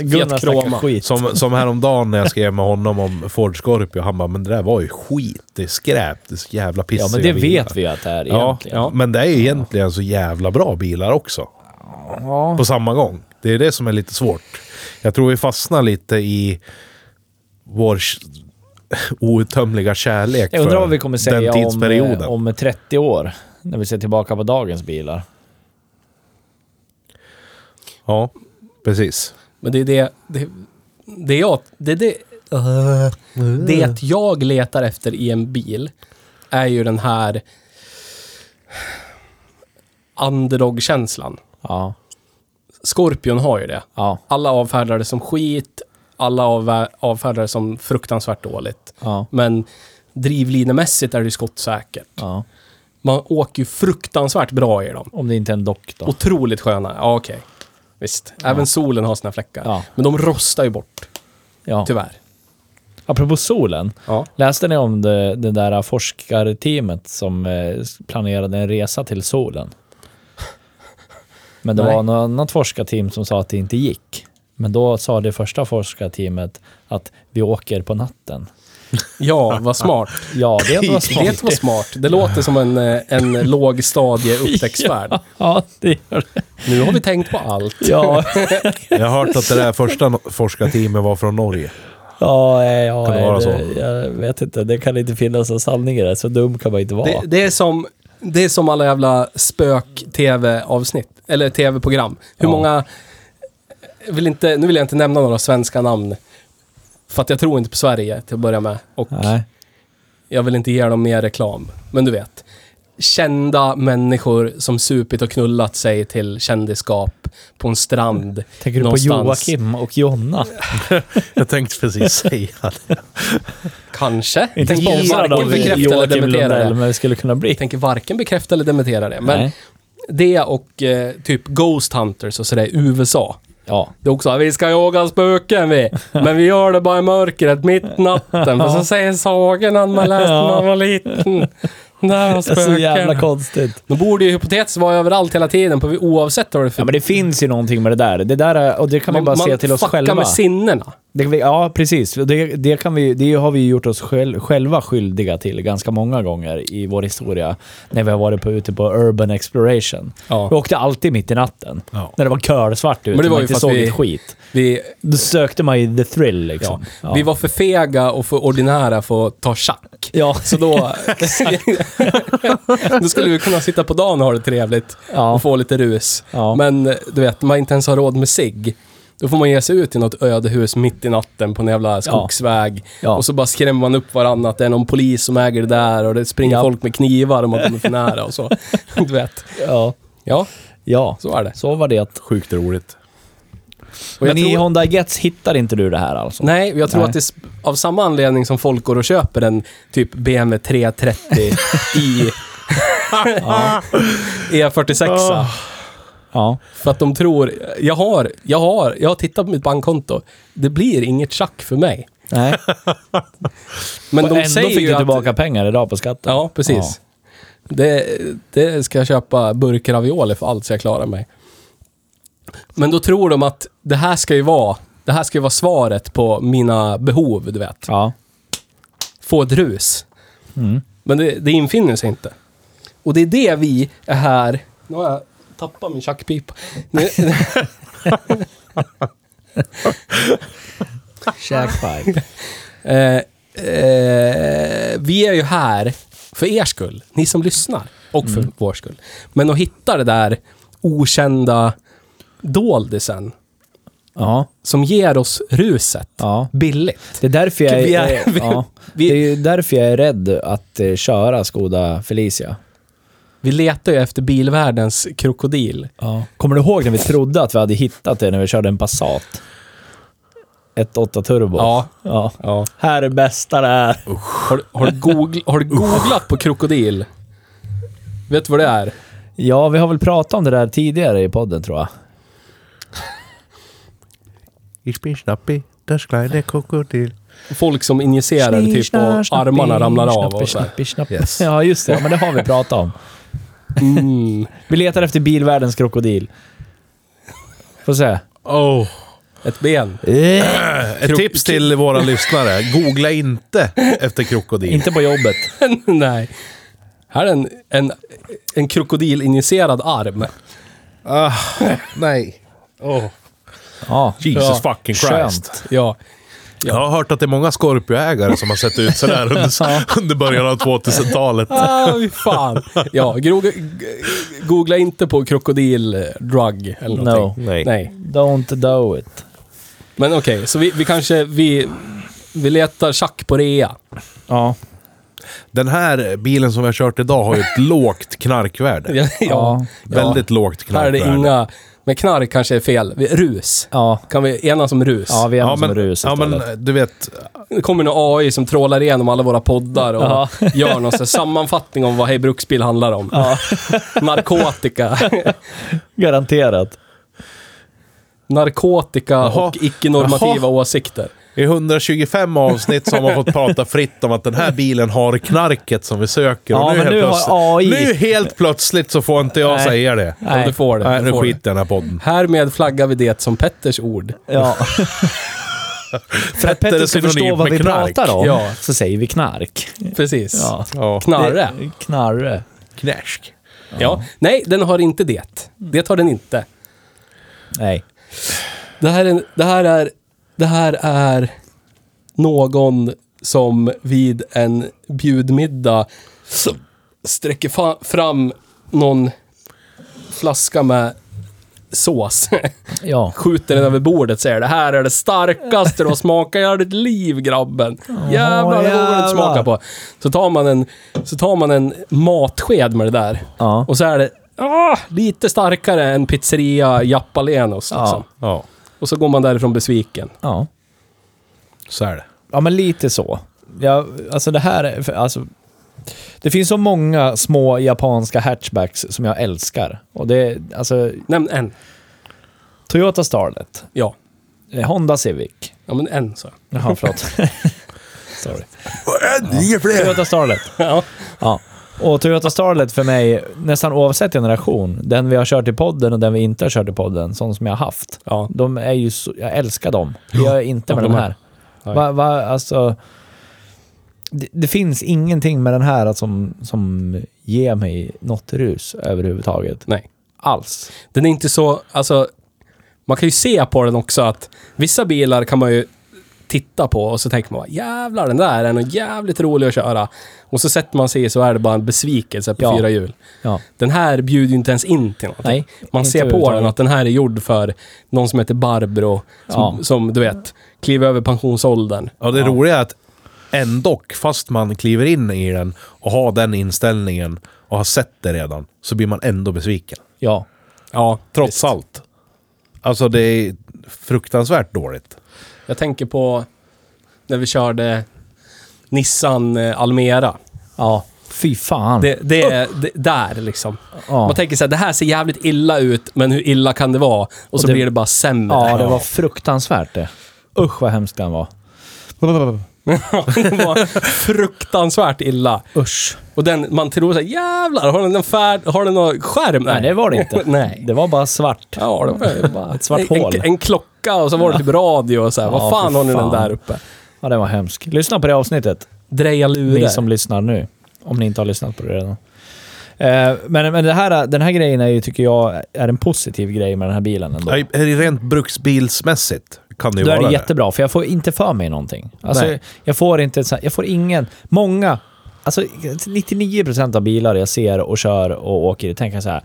Speaker 2: Fiat-
Speaker 3: Gunnar
Speaker 2: Fiat
Speaker 3: snackar
Speaker 2: Croma.
Speaker 3: skit.
Speaker 1: Som, som häromdagen när jag skrev med honom om Ford Scorpio. Han bara, men det där var ju skit. Det är skräp. Det är så jävla pissiga
Speaker 3: ja, men det
Speaker 1: bilar.
Speaker 3: vet vi ju att det är
Speaker 1: Ja,
Speaker 3: egentligen.
Speaker 1: ja, men det är ju egentligen så jävla bra bilar också.
Speaker 3: Ja.
Speaker 1: På samma gång. Det är det som är lite svårt. Jag tror vi fastnar lite i vår sh- outtömliga kärlek
Speaker 3: Jag undrar
Speaker 1: för
Speaker 3: vad vi kommer
Speaker 1: den
Speaker 3: säga om,
Speaker 1: tidsperioden.
Speaker 3: eh, om 30 år, när vi ser tillbaka på dagens bilar.
Speaker 1: Ja, precis.
Speaker 2: Men det är det... Det, det är jag... Det, är det, det jag letar efter i en bil är ju den här underdog-känslan.
Speaker 3: Ja.
Speaker 2: Scorpion har ju det.
Speaker 3: Ja.
Speaker 2: Alla avfärdar det som skit. Alla avvä- avfärdar det som fruktansvärt dåligt.
Speaker 3: Ja.
Speaker 2: Men drivlinemässigt är det ju skottsäkert.
Speaker 3: ja.
Speaker 2: Man åker ju fruktansvärt bra i dem.
Speaker 3: Om det inte är en dock då.
Speaker 2: Otroligt sköna. Ja, okej. Visst. Även solen har sina fläckar.
Speaker 3: Ja.
Speaker 2: Men de rostar ju bort,
Speaker 3: Ja.
Speaker 2: tyvärr.
Speaker 3: Apropå solen.
Speaker 2: Ja.
Speaker 3: Läste ni om det, det där forskarteamet som eh, planerade en resa till solen? Men det
Speaker 2: Nej.
Speaker 3: var något annat forskarteam som sa att det inte gick. Men då sa det första forskarteamet att vi åker på natten.
Speaker 2: Ja, vad smart.
Speaker 3: Ja, det var smart.
Speaker 2: Det var smart. Det låter som en, eh, en lågstadie upptäcktsvärld.
Speaker 3: Ja, det gör det.
Speaker 2: Nu har vi tänkt på allt.
Speaker 3: Ja,
Speaker 1: Jag har hört att det där första no- forskarteamet var från Norge.
Speaker 3: ja, eh, ja
Speaker 1: Kan det
Speaker 3: eh,
Speaker 1: vara så?
Speaker 3: jag vet inte. Det kan inte finnas en sanning i det. Så dum kan man inte vara.
Speaker 2: Det, det, är som, det är som alla jävla spök-tv-avsnitt. Eller tv-program. Hur
Speaker 3: Ja.
Speaker 2: många... jag Vill inte, nu vill jag inte nämna några svenska namn. För att jag tror inte på Sverige till att börja med. Och
Speaker 3: Nej.
Speaker 2: jag vill inte ge dem mer reklam. Men du vet. Kända människor som supit och knullat sig till kändisskap på en strand.
Speaker 3: Tänker du på
Speaker 2: någonstans.
Speaker 3: Joakim och Jonna?
Speaker 1: Jag tänkte precis säga det.
Speaker 2: Kanske.
Speaker 3: Inte
Speaker 2: Tänker
Speaker 3: sponsrad
Speaker 2: varken
Speaker 3: av
Speaker 2: bekräfta eller
Speaker 3: Joakim
Speaker 2: dementera
Speaker 3: Lundell,
Speaker 2: det.
Speaker 3: men det skulle kunna bli.
Speaker 2: Tänker varken bekräfta eller dementera det. Men
Speaker 3: Nej.
Speaker 2: det och eh, typ Ghost Hunters och sådär i USA.
Speaker 3: Ja.
Speaker 2: Det är också, vi ska jaga spöken vi. Men vi gör det bara i mörkret, mitt i natten. För så säger sagorna man läste när man var liten. Där var
Speaker 3: Det är så jävla
Speaker 2: spöken.
Speaker 3: konstigt.
Speaker 2: De borde ju hypotetiskt vara överallt hela tiden, på, oavsett vad det är för...
Speaker 3: Ja, men det finns ju någonting med det där. Det där är, och det kan man, bara se till oss
Speaker 2: fuckar
Speaker 3: själva.
Speaker 2: med sinnena.
Speaker 3: Det kan vi, ja, precis. Det, det, kan vi, det har vi ju gjort oss själ, själva skyldiga till ganska många gånger i vår historia. När vi har varit på, ute på Urban Exploration.
Speaker 2: Ja.
Speaker 3: Vi åkte alltid mitt i natten.
Speaker 1: Ja.
Speaker 3: När det var kölsvart ute
Speaker 2: Men det var
Speaker 3: och man
Speaker 2: ju
Speaker 3: inte
Speaker 2: för att
Speaker 3: såg
Speaker 2: vi-
Speaker 3: ett skit.
Speaker 2: Vi,
Speaker 3: Då sökte man ju the thrill
Speaker 2: ja,
Speaker 3: liksom.
Speaker 2: vi var för fega och för ordinära för att ta tjack.
Speaker 3: Ja,
Speaker 2: Så då... då skulle vi kunna sitta på dagen och ha det trevligt
Speaker 3: ja,
Speaker 2: och få lite rus.
Speaker 3: ja.
Speaker 2: Men eh, du vet, man inte ens har råd med sig. Då får man ge sig ut i något ödehus mitt i natten på en jävla skogsväg.
Speaker 3: Ja.
Speaker 2: Och så bara skrämmer man upp varandra att det är någon polis som äger det där och det springer
Speaker 3: Ja.
Speaker 2: folk med knivar om man kommer för nära och så. Du vet.
Speaker 3: ja,
Speaker 2: Ja,
Speaker 3: ja.
Speaker 2: så är det.
Speaker 3: Så var det.
Speaker 1: Sjukt roligt.
Speaker 2: Och jag
Speaker 3: Men i
Speaker 2: tror-
Speaker 3: Honda Gets hittar inte du det här alltså?
Speaker 2: Nej, jag tror
Speaker 3: Nej.
Speaker 2: att det är sp- av samma anledning som folk går och köper en typ BMW 330 i E E46.
Speaker 3: Ja.
Speaker 2: För att de tror, jag har, jag har, jag har tittat på mitt bankkonto. Det blir inget tjack för mig.
Speaker 3: Nej.
Speaker 2: Men
Speaker 3: och
Speaker 2: de
Speaker 3: ändå
Speaker 2: säger
Speaker 3: fick
Speaker 2: ju
Speaker 3: du
Speaker 2: att,
Speaker 3: tillbaka pengar idag på skatten.
Speaker 2: Ja, precis. Det, det ska jag köpa burk ravioli för allt så jag klarar mig. Men då tror de att det här ska ju vara, det här ska ju vara svaret på mina behov, du vet.
Speaker 3: Ja.
Speaker 2: Få ett rus.
Speaker 3: Mm.
Speaker 2: Men det, det infinner sig inte. Och det är det vi är här... Nu har jag tappat min tjackpipa. Nu-
Speaker 3: Shackpipe.
Speaker 2: eh, eh, vi är ju här för er skull, ni som lyssnar. Och för vår skull. Men att hitta det där okända doldisen
Speaker 3: ja.
Speaker 2: som ger oss ruset
Speaker 3: Ja.
Speaker 2: billigt.
Speaker 3: Det är därför jag
Speaker 2: Vi är-
Speaker 3: är,
Speaker 2: vi-
Speaker 3: ja.
Speaker 2: vi-
Speaker 3: det är ju därför jag är rädd att eh, köra Skoda Felicia.
Speaker 2: Vi letar ju efter bilvärldens krokodil.
Speaker 3: Kommer du ihåg när vi trodde att vi hade hittat det när vi körde en Passat? 1.8 turbo.
Speaker 2: Ja. Oh.
Speaker 3: ja.
Speaker 2: Ja.
Speaker 3: Här är bästa det är.
Speaker 2: Har, har, du googl- har du googlat på krokodil? Vet du vad det är?
Speaker 3: Ja, vi har väl pratat om det där tidigare i podden tror jag.
Speaker 1: Ich bin schnappi, das kleine krokodil.
Speaker 2: Folk som injicerar det typ och armarna ramlar av och så här.
Speaker 3: snappi, snappi.
Speaker 1: Yes.
Speaker 3: Ja, just det. Ja, men det har vi pratat om.
Speaker 2: Mm.
Speaker 3: Vi letar efter bilvärldens krokodil. Får se.
Speaker 1: Oh.
Speaker 2: Ett ben.
Speaker 3: Eh,
Speaker 1: Ett tips till våra lyssnare. Googla inte efter krokodil.
Speaker 3: Inte på jobbet.
Speaker 2: Nej. Här är en, en, Ah, en krokodilinjicerad arm.
Speaker 1: Nej.
Speaker 3: Ja.
Speaker 1: Jesus
Speaker 2: Ja,
Speaker 1: fucking Christ.
Speaker 3: Skönt.
Speaker 2: Ja.
Speaker 1: Jag har hört att det är många Scorpio-ägare som har sett ut sådär under, under början av 2000-talet.
Speaker 2: Ah, fy fan. Ja, gro- g- googla inte på krokodildrug eller någonting.
Speaker 1: Nej.
Speaker 2: Nej.
Speaker 3: Don't do it.
Speaker 2: Men okej, så vi, vi kanske... Vi, vi letar schack på rea.
Speaker 3: Ja.
Speaker 1: Den här bilen som vi har kört idag har ju ett lågt knarkvärde.
Speaker 2: Ja, ja.
Speaker 3: Ja.
Speaker 1: Väldigt lågt
Speaker 2: Här är det
Speaker 1: knarkvärde.
Speaker 2: inga... Men knark kanske är fel. Vi- Rus.
Speaker 3: Ja.
Speaker 2: Kan vi enas om rus?
Speaker 3: Ja, vi är
Speaker 1: Ja
Speaker 3: ja, som
Speaker 1: men,
Speaker 3: rus
Speaker 1: ja
Speaker 3: istället.
Speaker 1: men du vet,
Speaker 2: Det kommer någon AI som trålar igenom alla våra poddar och
Speaker 3: Ja.
Speaker 2: gör någon sån här sammanfattning om vad Hej Bruksbil handlar om.
Speaker 3: Ja,
Speaker 2: Narkotika.
Speaker 3: garanterat.
Speaker 2: Narkotika
Speaker 1: Jaha.
Speaker 2: och icke-normativa
Speaker 1: Jaha.
Speaker 2: åsikter.
Speaker 1: i 125 avsnitt så har man fått prata fritt om att den här bilen har knarket som vi söker.
Speaker 3: Ja, men
Speaker 1: helt
Speaker 3: nu har
Speaker 1: plötsligt-
Speaker 3: AI.
Speaker 1: Nu helt plötsligt så får inte jag
Speaker 3: Nej.
Speaker 1: säga det.
Speaker 2: Om du får det.
Speaker 1: Nej,
Speaker 2: du
Speaker 1: nu
Speaker 2: får det.
Speaker 1: skiter jag i den här podden.
Speaker 2: Härmed flaggar vi det som Petters ord.
Speaker 3: Ja. För att Petter ska
Speaker 1: synonymt
Speaker 3: förstå vad
Speaker 1: med
Speaker 3: vi
Speaker 1: knark.
Speaker 3: pratar om
Speaker 2: Ja.
Speaker 3: så säger vi knark.
Speaker 2: Precis.
Speaker 3: Ja.
Speaker 1: Ja.
Speaker 2: Knarre.
Speaker 3: Det- Knarre.
Speaker 1: Knäsk.
Speaker 2: Ja. Nej, den har inte det. Det har den inte.
Speaker 3: Nej.
Speaker 2: Det här är... Det här är, det här är någon som vid en bjudmiddag s- sträcker fa- fram någon flaska med sås.
Speaker 3: Ja.
Speaker 2: Skjuter den över bordet säger det här är det starkaste du har smakat i hela ditt liv grabben. Jävlar, det vågar du inte
Speaker 3: jävlar.
Speaker 2: smaka på. Så tar, man en, så tar man en matsked med det där.
Speaker 3: Ja.
Speaker 2: Och så är det ah, lite starkare än pizzeria Jappalenos. Liksom.
Speaker 1: Ja,
Speaker 2: Och så går man därifrån besviken.
Speaker 3: Ja.
Speaker 1: så är det.
Speaker 3: Ja, men lite så. Ja, alltså det här är... för- Alltså, det finns så många små japanska hatchbacks som jag älskar. Och det, alltså,
Speaker 2: Nämn en.
Speaker 3: Toyota Starlet,
Speaker 2: Ja.
Speaker 3: eh, Honda Civic.
Speaker 2: Ja, men en så.
Speaker 3: Jaha, förlåt. Sorry.
Speaker 1: Inga fler!
Speaker 3: Toyota Starlet.
Speaker 2: Ja.
Speaker 3: Ja. Och Toyota Starlet för mig, nästan oavsett generation, den vi har kört i podden och den vi inte har kört i podden, sån som jag har haft.
Speaker 2: Ja.
Speaker 3: De är ju så, jag älskar dem. Det gör jag inte med
Speaker 2: Ja,
Speaker 3: de
Speaker 2: de är-
Speaker 3: här.
Speaker 2: Nej.
Speaker 3: Va, va, alltså, det, det finns ingenting med den här som, som ger mig något rus överhuvudtaget.
Speaker 2: Nej.
Speaker 3: Alls.
Speaker 2: Den är inte så, alltså. Man kan ju se på den också att vissa bilar kan man ju titta på och så tänker man bara, jävlar den där är nog jävligt rolig att köra. Och så sätter man sig i så är det bara en besvikelse på
Speaker 3: Ja.
Speaker 2: fyra hjul.
Speaker 3: Ja.
Speaker 2: Den här bjuder ju inte ens in till någonting.
Speaker 3: Nej,
Speaker 2: Man
Speaker 3: inte
Speaker 2: ser på
Speaker 3: överhuvudtaget.
Speaker 2: den att den här är gjord för någon som heter Barbro, som,
Speaker 3: Ja.
Speaker 2: som du vet, kliver över pensionsåldern.
Speaker 1: Ja, det roliga är att ändå, fast man kliver in i den och har den inställningen och har sett det redan, så blir man ändå besviken.
Speaker 3: Ja.
Speaker 2: Ja,
Speaker 1: Trots allt. Alltså det är fruktansvärt dåligt.
Speaker 2: Jag tänker på när vi körde Nissan eh, Almera.
Speaker 3: Ja. Fy fan.
Speaker 2: Det, det är det, där liksom.
Speaker 3: ja.
Speaker 2: Man tänker så här, det här ser jävligt illa ut, men hur illa kan det vara? Och så
Speaker 3: det-
Speaker 2: blir det bara sämre.
Speaker 3: ja, det var fruktansvärt det. Usch vad hemskt den var.
Speaker 2: det var fruktansvärt illa.
Speaker 3: Usch.
Speaker 2: Och den, man tror så här, jävlar, har den en färd, har den någon skärm?
Speaker 3: Nej, det var det inte.
Speaker 2: Nej.
Speaker 3: Det var bara svart.
Speaker 2: Ja, det var ju bara
Speaker 3: Ett svart
Speaker 2: en,
Speaker 3: hål.
Speaker 2: En, en klocka och så var det typ radio och så här.
Speaker 3: Ja,
Speaker 2: Vad fan
Speaker 3: för
Speaker 2: har ni den
Speaker 3: fan.
Speaker 2: där uppe?
Speaker 3: Ja, den var hemsk. Lyssna på det avsnittet,
Speaker 2: Dreja lurar.
Speaker 3: ni som lyssnar nu. Om ni inte har lyssnat på det redan. Eh, men men det här, den här grejen är ju, tycker jag är en positiv grej med den här bilen ändå.
Speaker 1: Ja, Rent bruksbilsmässigt kan det ju
Speaker 3: Då är
Speaker 1: vara
Speaker 3: det
Speaker 1: det.
Speaker 3: jättebra, för jag får inte för mig någonting. Alltså,
Speaker 1: Nej.
Speaker 3: jag får inte... så här- Jag får ingen... Många... Alltså 99% av bilar jag ser och kör och åker i tänker jag så här...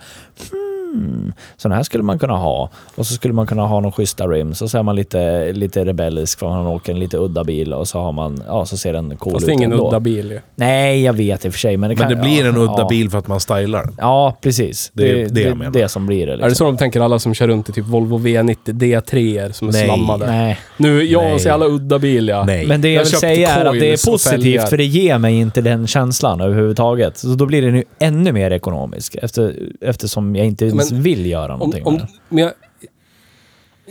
Speaker 3: Hmm, sådana här skulle man kunna ha. Och så skulle man kunna ha någon schyssta rims och så är man lite, lite rebellisk för man åker en lite udda bil och så har man... Ja, så ser den cool
Speaker 2: Fast
Speaker 3: ut
Speaker 2: det är ingen
Speaker 3: ändå.
Speaker 2: udda bil ju.
Speaker 3: Nej, jag vet i och för sig, men det
Speaker 1: Men
Speaker 3: kan...
Speaker 1: det blir
Speaker 3: ja,
Speaker 1: en udda
Speaker 3: ja.
Speaker 1: bil för att man stylar den.
Speaker 3: Ja, precis.
Speaker 1: Det är det
Speaker 3: Det är
Speaker 1: jag
Speaker 3: det, det,
Speaker 1: menar.
Speaker 3: det som blir det.
Speaker 2: Är det
Speaker 3: liksom.
Speaker 2: så de tänker alla som kör runt i typ Volvo V90 D3 som är
Speaker 1: Nej.
Speaker 2: slammade?
Speaker 3: Nej.
Speaker 2: Nu, ja,
Speaker 1: Nej.
Speaker 2: och så jävla udda bil ja.
Speaker 1: Nej.
Speaker 3: Men det jag,
Speaker 2: Jag
Speaker 3: vill
Speaker 2: köpte
Speaker 3: säga är att det
Speaker 2: coils
Speaker 3: är
Speaker 2: och fälgar.
Speaker 3: positivt för det ger mig inte den känslan överhuvudtaget. Så då blir den ju ännu mer ekonomisk efter, eftersom jag inte ens
Speaker 2: Men
Speaker 3: vill göra
Speaker 2: Om,
Speaker 3: någonting
Speaker 2: om,
Speaker 3: med det.
Speaker 2: men jag,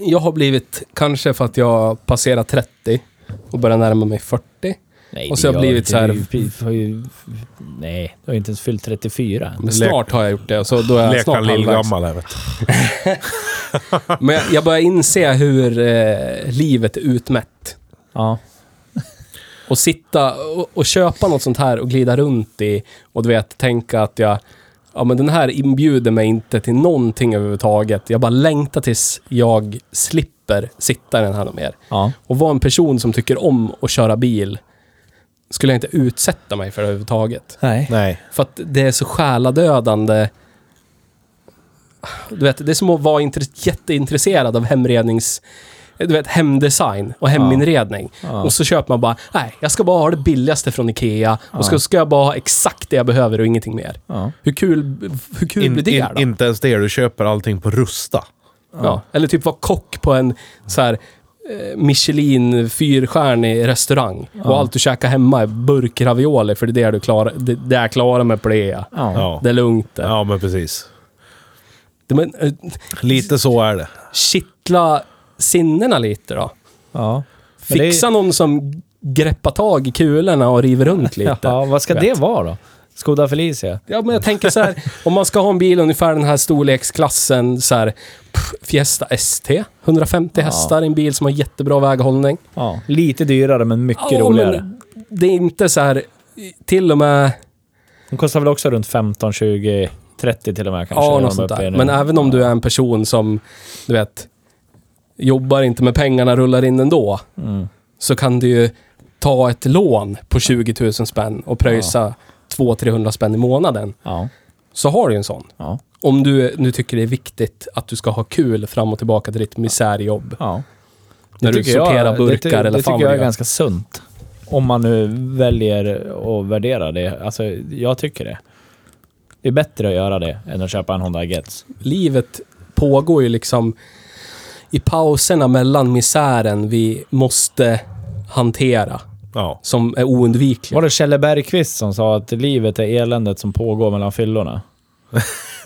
Speaker 2: jag har blivit, kanske för att jag passerat 30 och börjar närma mig 40.
Speaker 3: Nej,
Speaker 2: och
Speaker 3: det
Speaker 2: så har jag
Speaker 3: gör
Speaker 2: blivit
Speaker 3: det inte.
Speaker 2: så
Speaker 3: Du har ju- Nej, du har ju inte ens fyllt 34.
Speaker 2: Men snart har jag gjort det, och så då är jag
Speaker 1: Leka
Speaker 2: snart halvvägs.
Speaker 1: lillgammal, jag vet.
Speaker 2: Men jag, jag börjar inse hur eh, livet är utmätt.
Speaker 3: Ja.
Speaker 2: Och sitta och, och köpa något sånt här och glida runt i och du vet, tänka att jag... ja men den här inbjuder mig inte till någonting överhuvudtaget. Jag bara längtar tills jag slipper sitta i den här något mer.
Speaker 3: Ja.
Speaker 2: Och vara en person som tycker om att köra bil skulle jag inte utsätta mig för överhuvudtaget.
Speaker 3: Nej.
Speaker 1: Nej.
Speaker 2: För att det är så själadödande. Du vet, det är som att vara intre- jätteintresserad av hemrednings... Du vet, hemdesign och heminredning.
Speaker 3: Ja.
Speaker 2: Och så köper man bara, nej, jag ska bara ha det billigaste från Ikea. Och så ska jag bara ha exakt det jag behöver och ingenting mer.
Speaker 3: Ja.
Speaker 2: Hur kul, hur kul
Speaker 1: In,
Speaker 2: blir det
Speaker 1: in,
Speaker 2: då?
Speaker 1: inte ens det, du köper allting på Rusta.
Speaker 2: Ja. Eller typ vara kock på en så här eh, Michelin fyrstjärnig restaurang. Och allt du käkar hemma är burkravioli, för det är det du klarar, det, det är jag klarar med på det.
Speaker 3: Ja.
Speaker 1: Ja.
Speaker 2: Det är lugnt det.
Speaker 1: ja, men precis.
Speaker 2: Det- Men, eh,
Speaker 1: Lite så är det.
Speaker 2: kittla sinnena lite då.
Speaker 3: ja. Men det är-
Speaker 2: Fixa någon som greppar tag i kulorna och river runt lite.
Speaker 3: Ja, vad ska
Speaker 2: Vet.
Speaker 3: det vara då? Skoda Felicia?
Speaker 2: Ja, men jag tänker så här, om man ska ha en bil ungefär den här storleksklassen, så här, pff, Fiesta ST, 150
Speaker 3: Ja.
Speaker 2: hästar i en bil som har jättebra väghållning.
Speaker 3: Ja. Lite dyrare men mycket
Speaker 2: Ja,
Speaker 3: roligare.
Speaker 2: men Det är inte så här, till och med,
Speaker 3: De kostar väl också runt 15, 20, 30 till och med kanske.
Speaker 2: ja,
Speaker 3: de
Speaker 2: något
Speaker 3: är
Speaker 2: sånt
Speaker 3: uppe i
Speaker 2: där.
Speaker 3: nu.
Speaker 2: Men även om du är en person som, du vet, jobbar inte med pengarna, rullar in ändå,
Speaker 3: Mm.
Speaker 2: så kan du ju ta ett lån på 20 000 spänn och pröjsa 200-300 spänn i månaden.
Speaker 3: Ja.
Speaker 2: Så har du ju en sån.
Speaker 3: Ja.
Speaker 2: Om du nu tycker det är viktigt att du ska ha kul fram och tillbaka till ditt misärjobb.
Speaker 3: ja.
Speaker 2: När du
Speaker 3: tycker jag-
Speaker 2: sorterar burkar
Speaker 3: det, ty-
Speaker 2: eller fan
Speaker 3: Det tycker jag
Speaker 2: vad
Speaker 3: är
Speaker 2: du gör.
Speaker 3: ganska sunt. Om man nu väljer att värdera det. Alltså, jag tycker det. Det är bättre att göra det än att köpa en Honda Gets.
Speaker 2: Livet pågår ju liksom i pauserna mellan misären vi måste hantera,
Speaker 1: Ja.
Speaker 2: som är oundviklig.
Speaker 3: Var det Kjelle Bergqvist som sa att livet är eländet som pågår mellan fyllorna?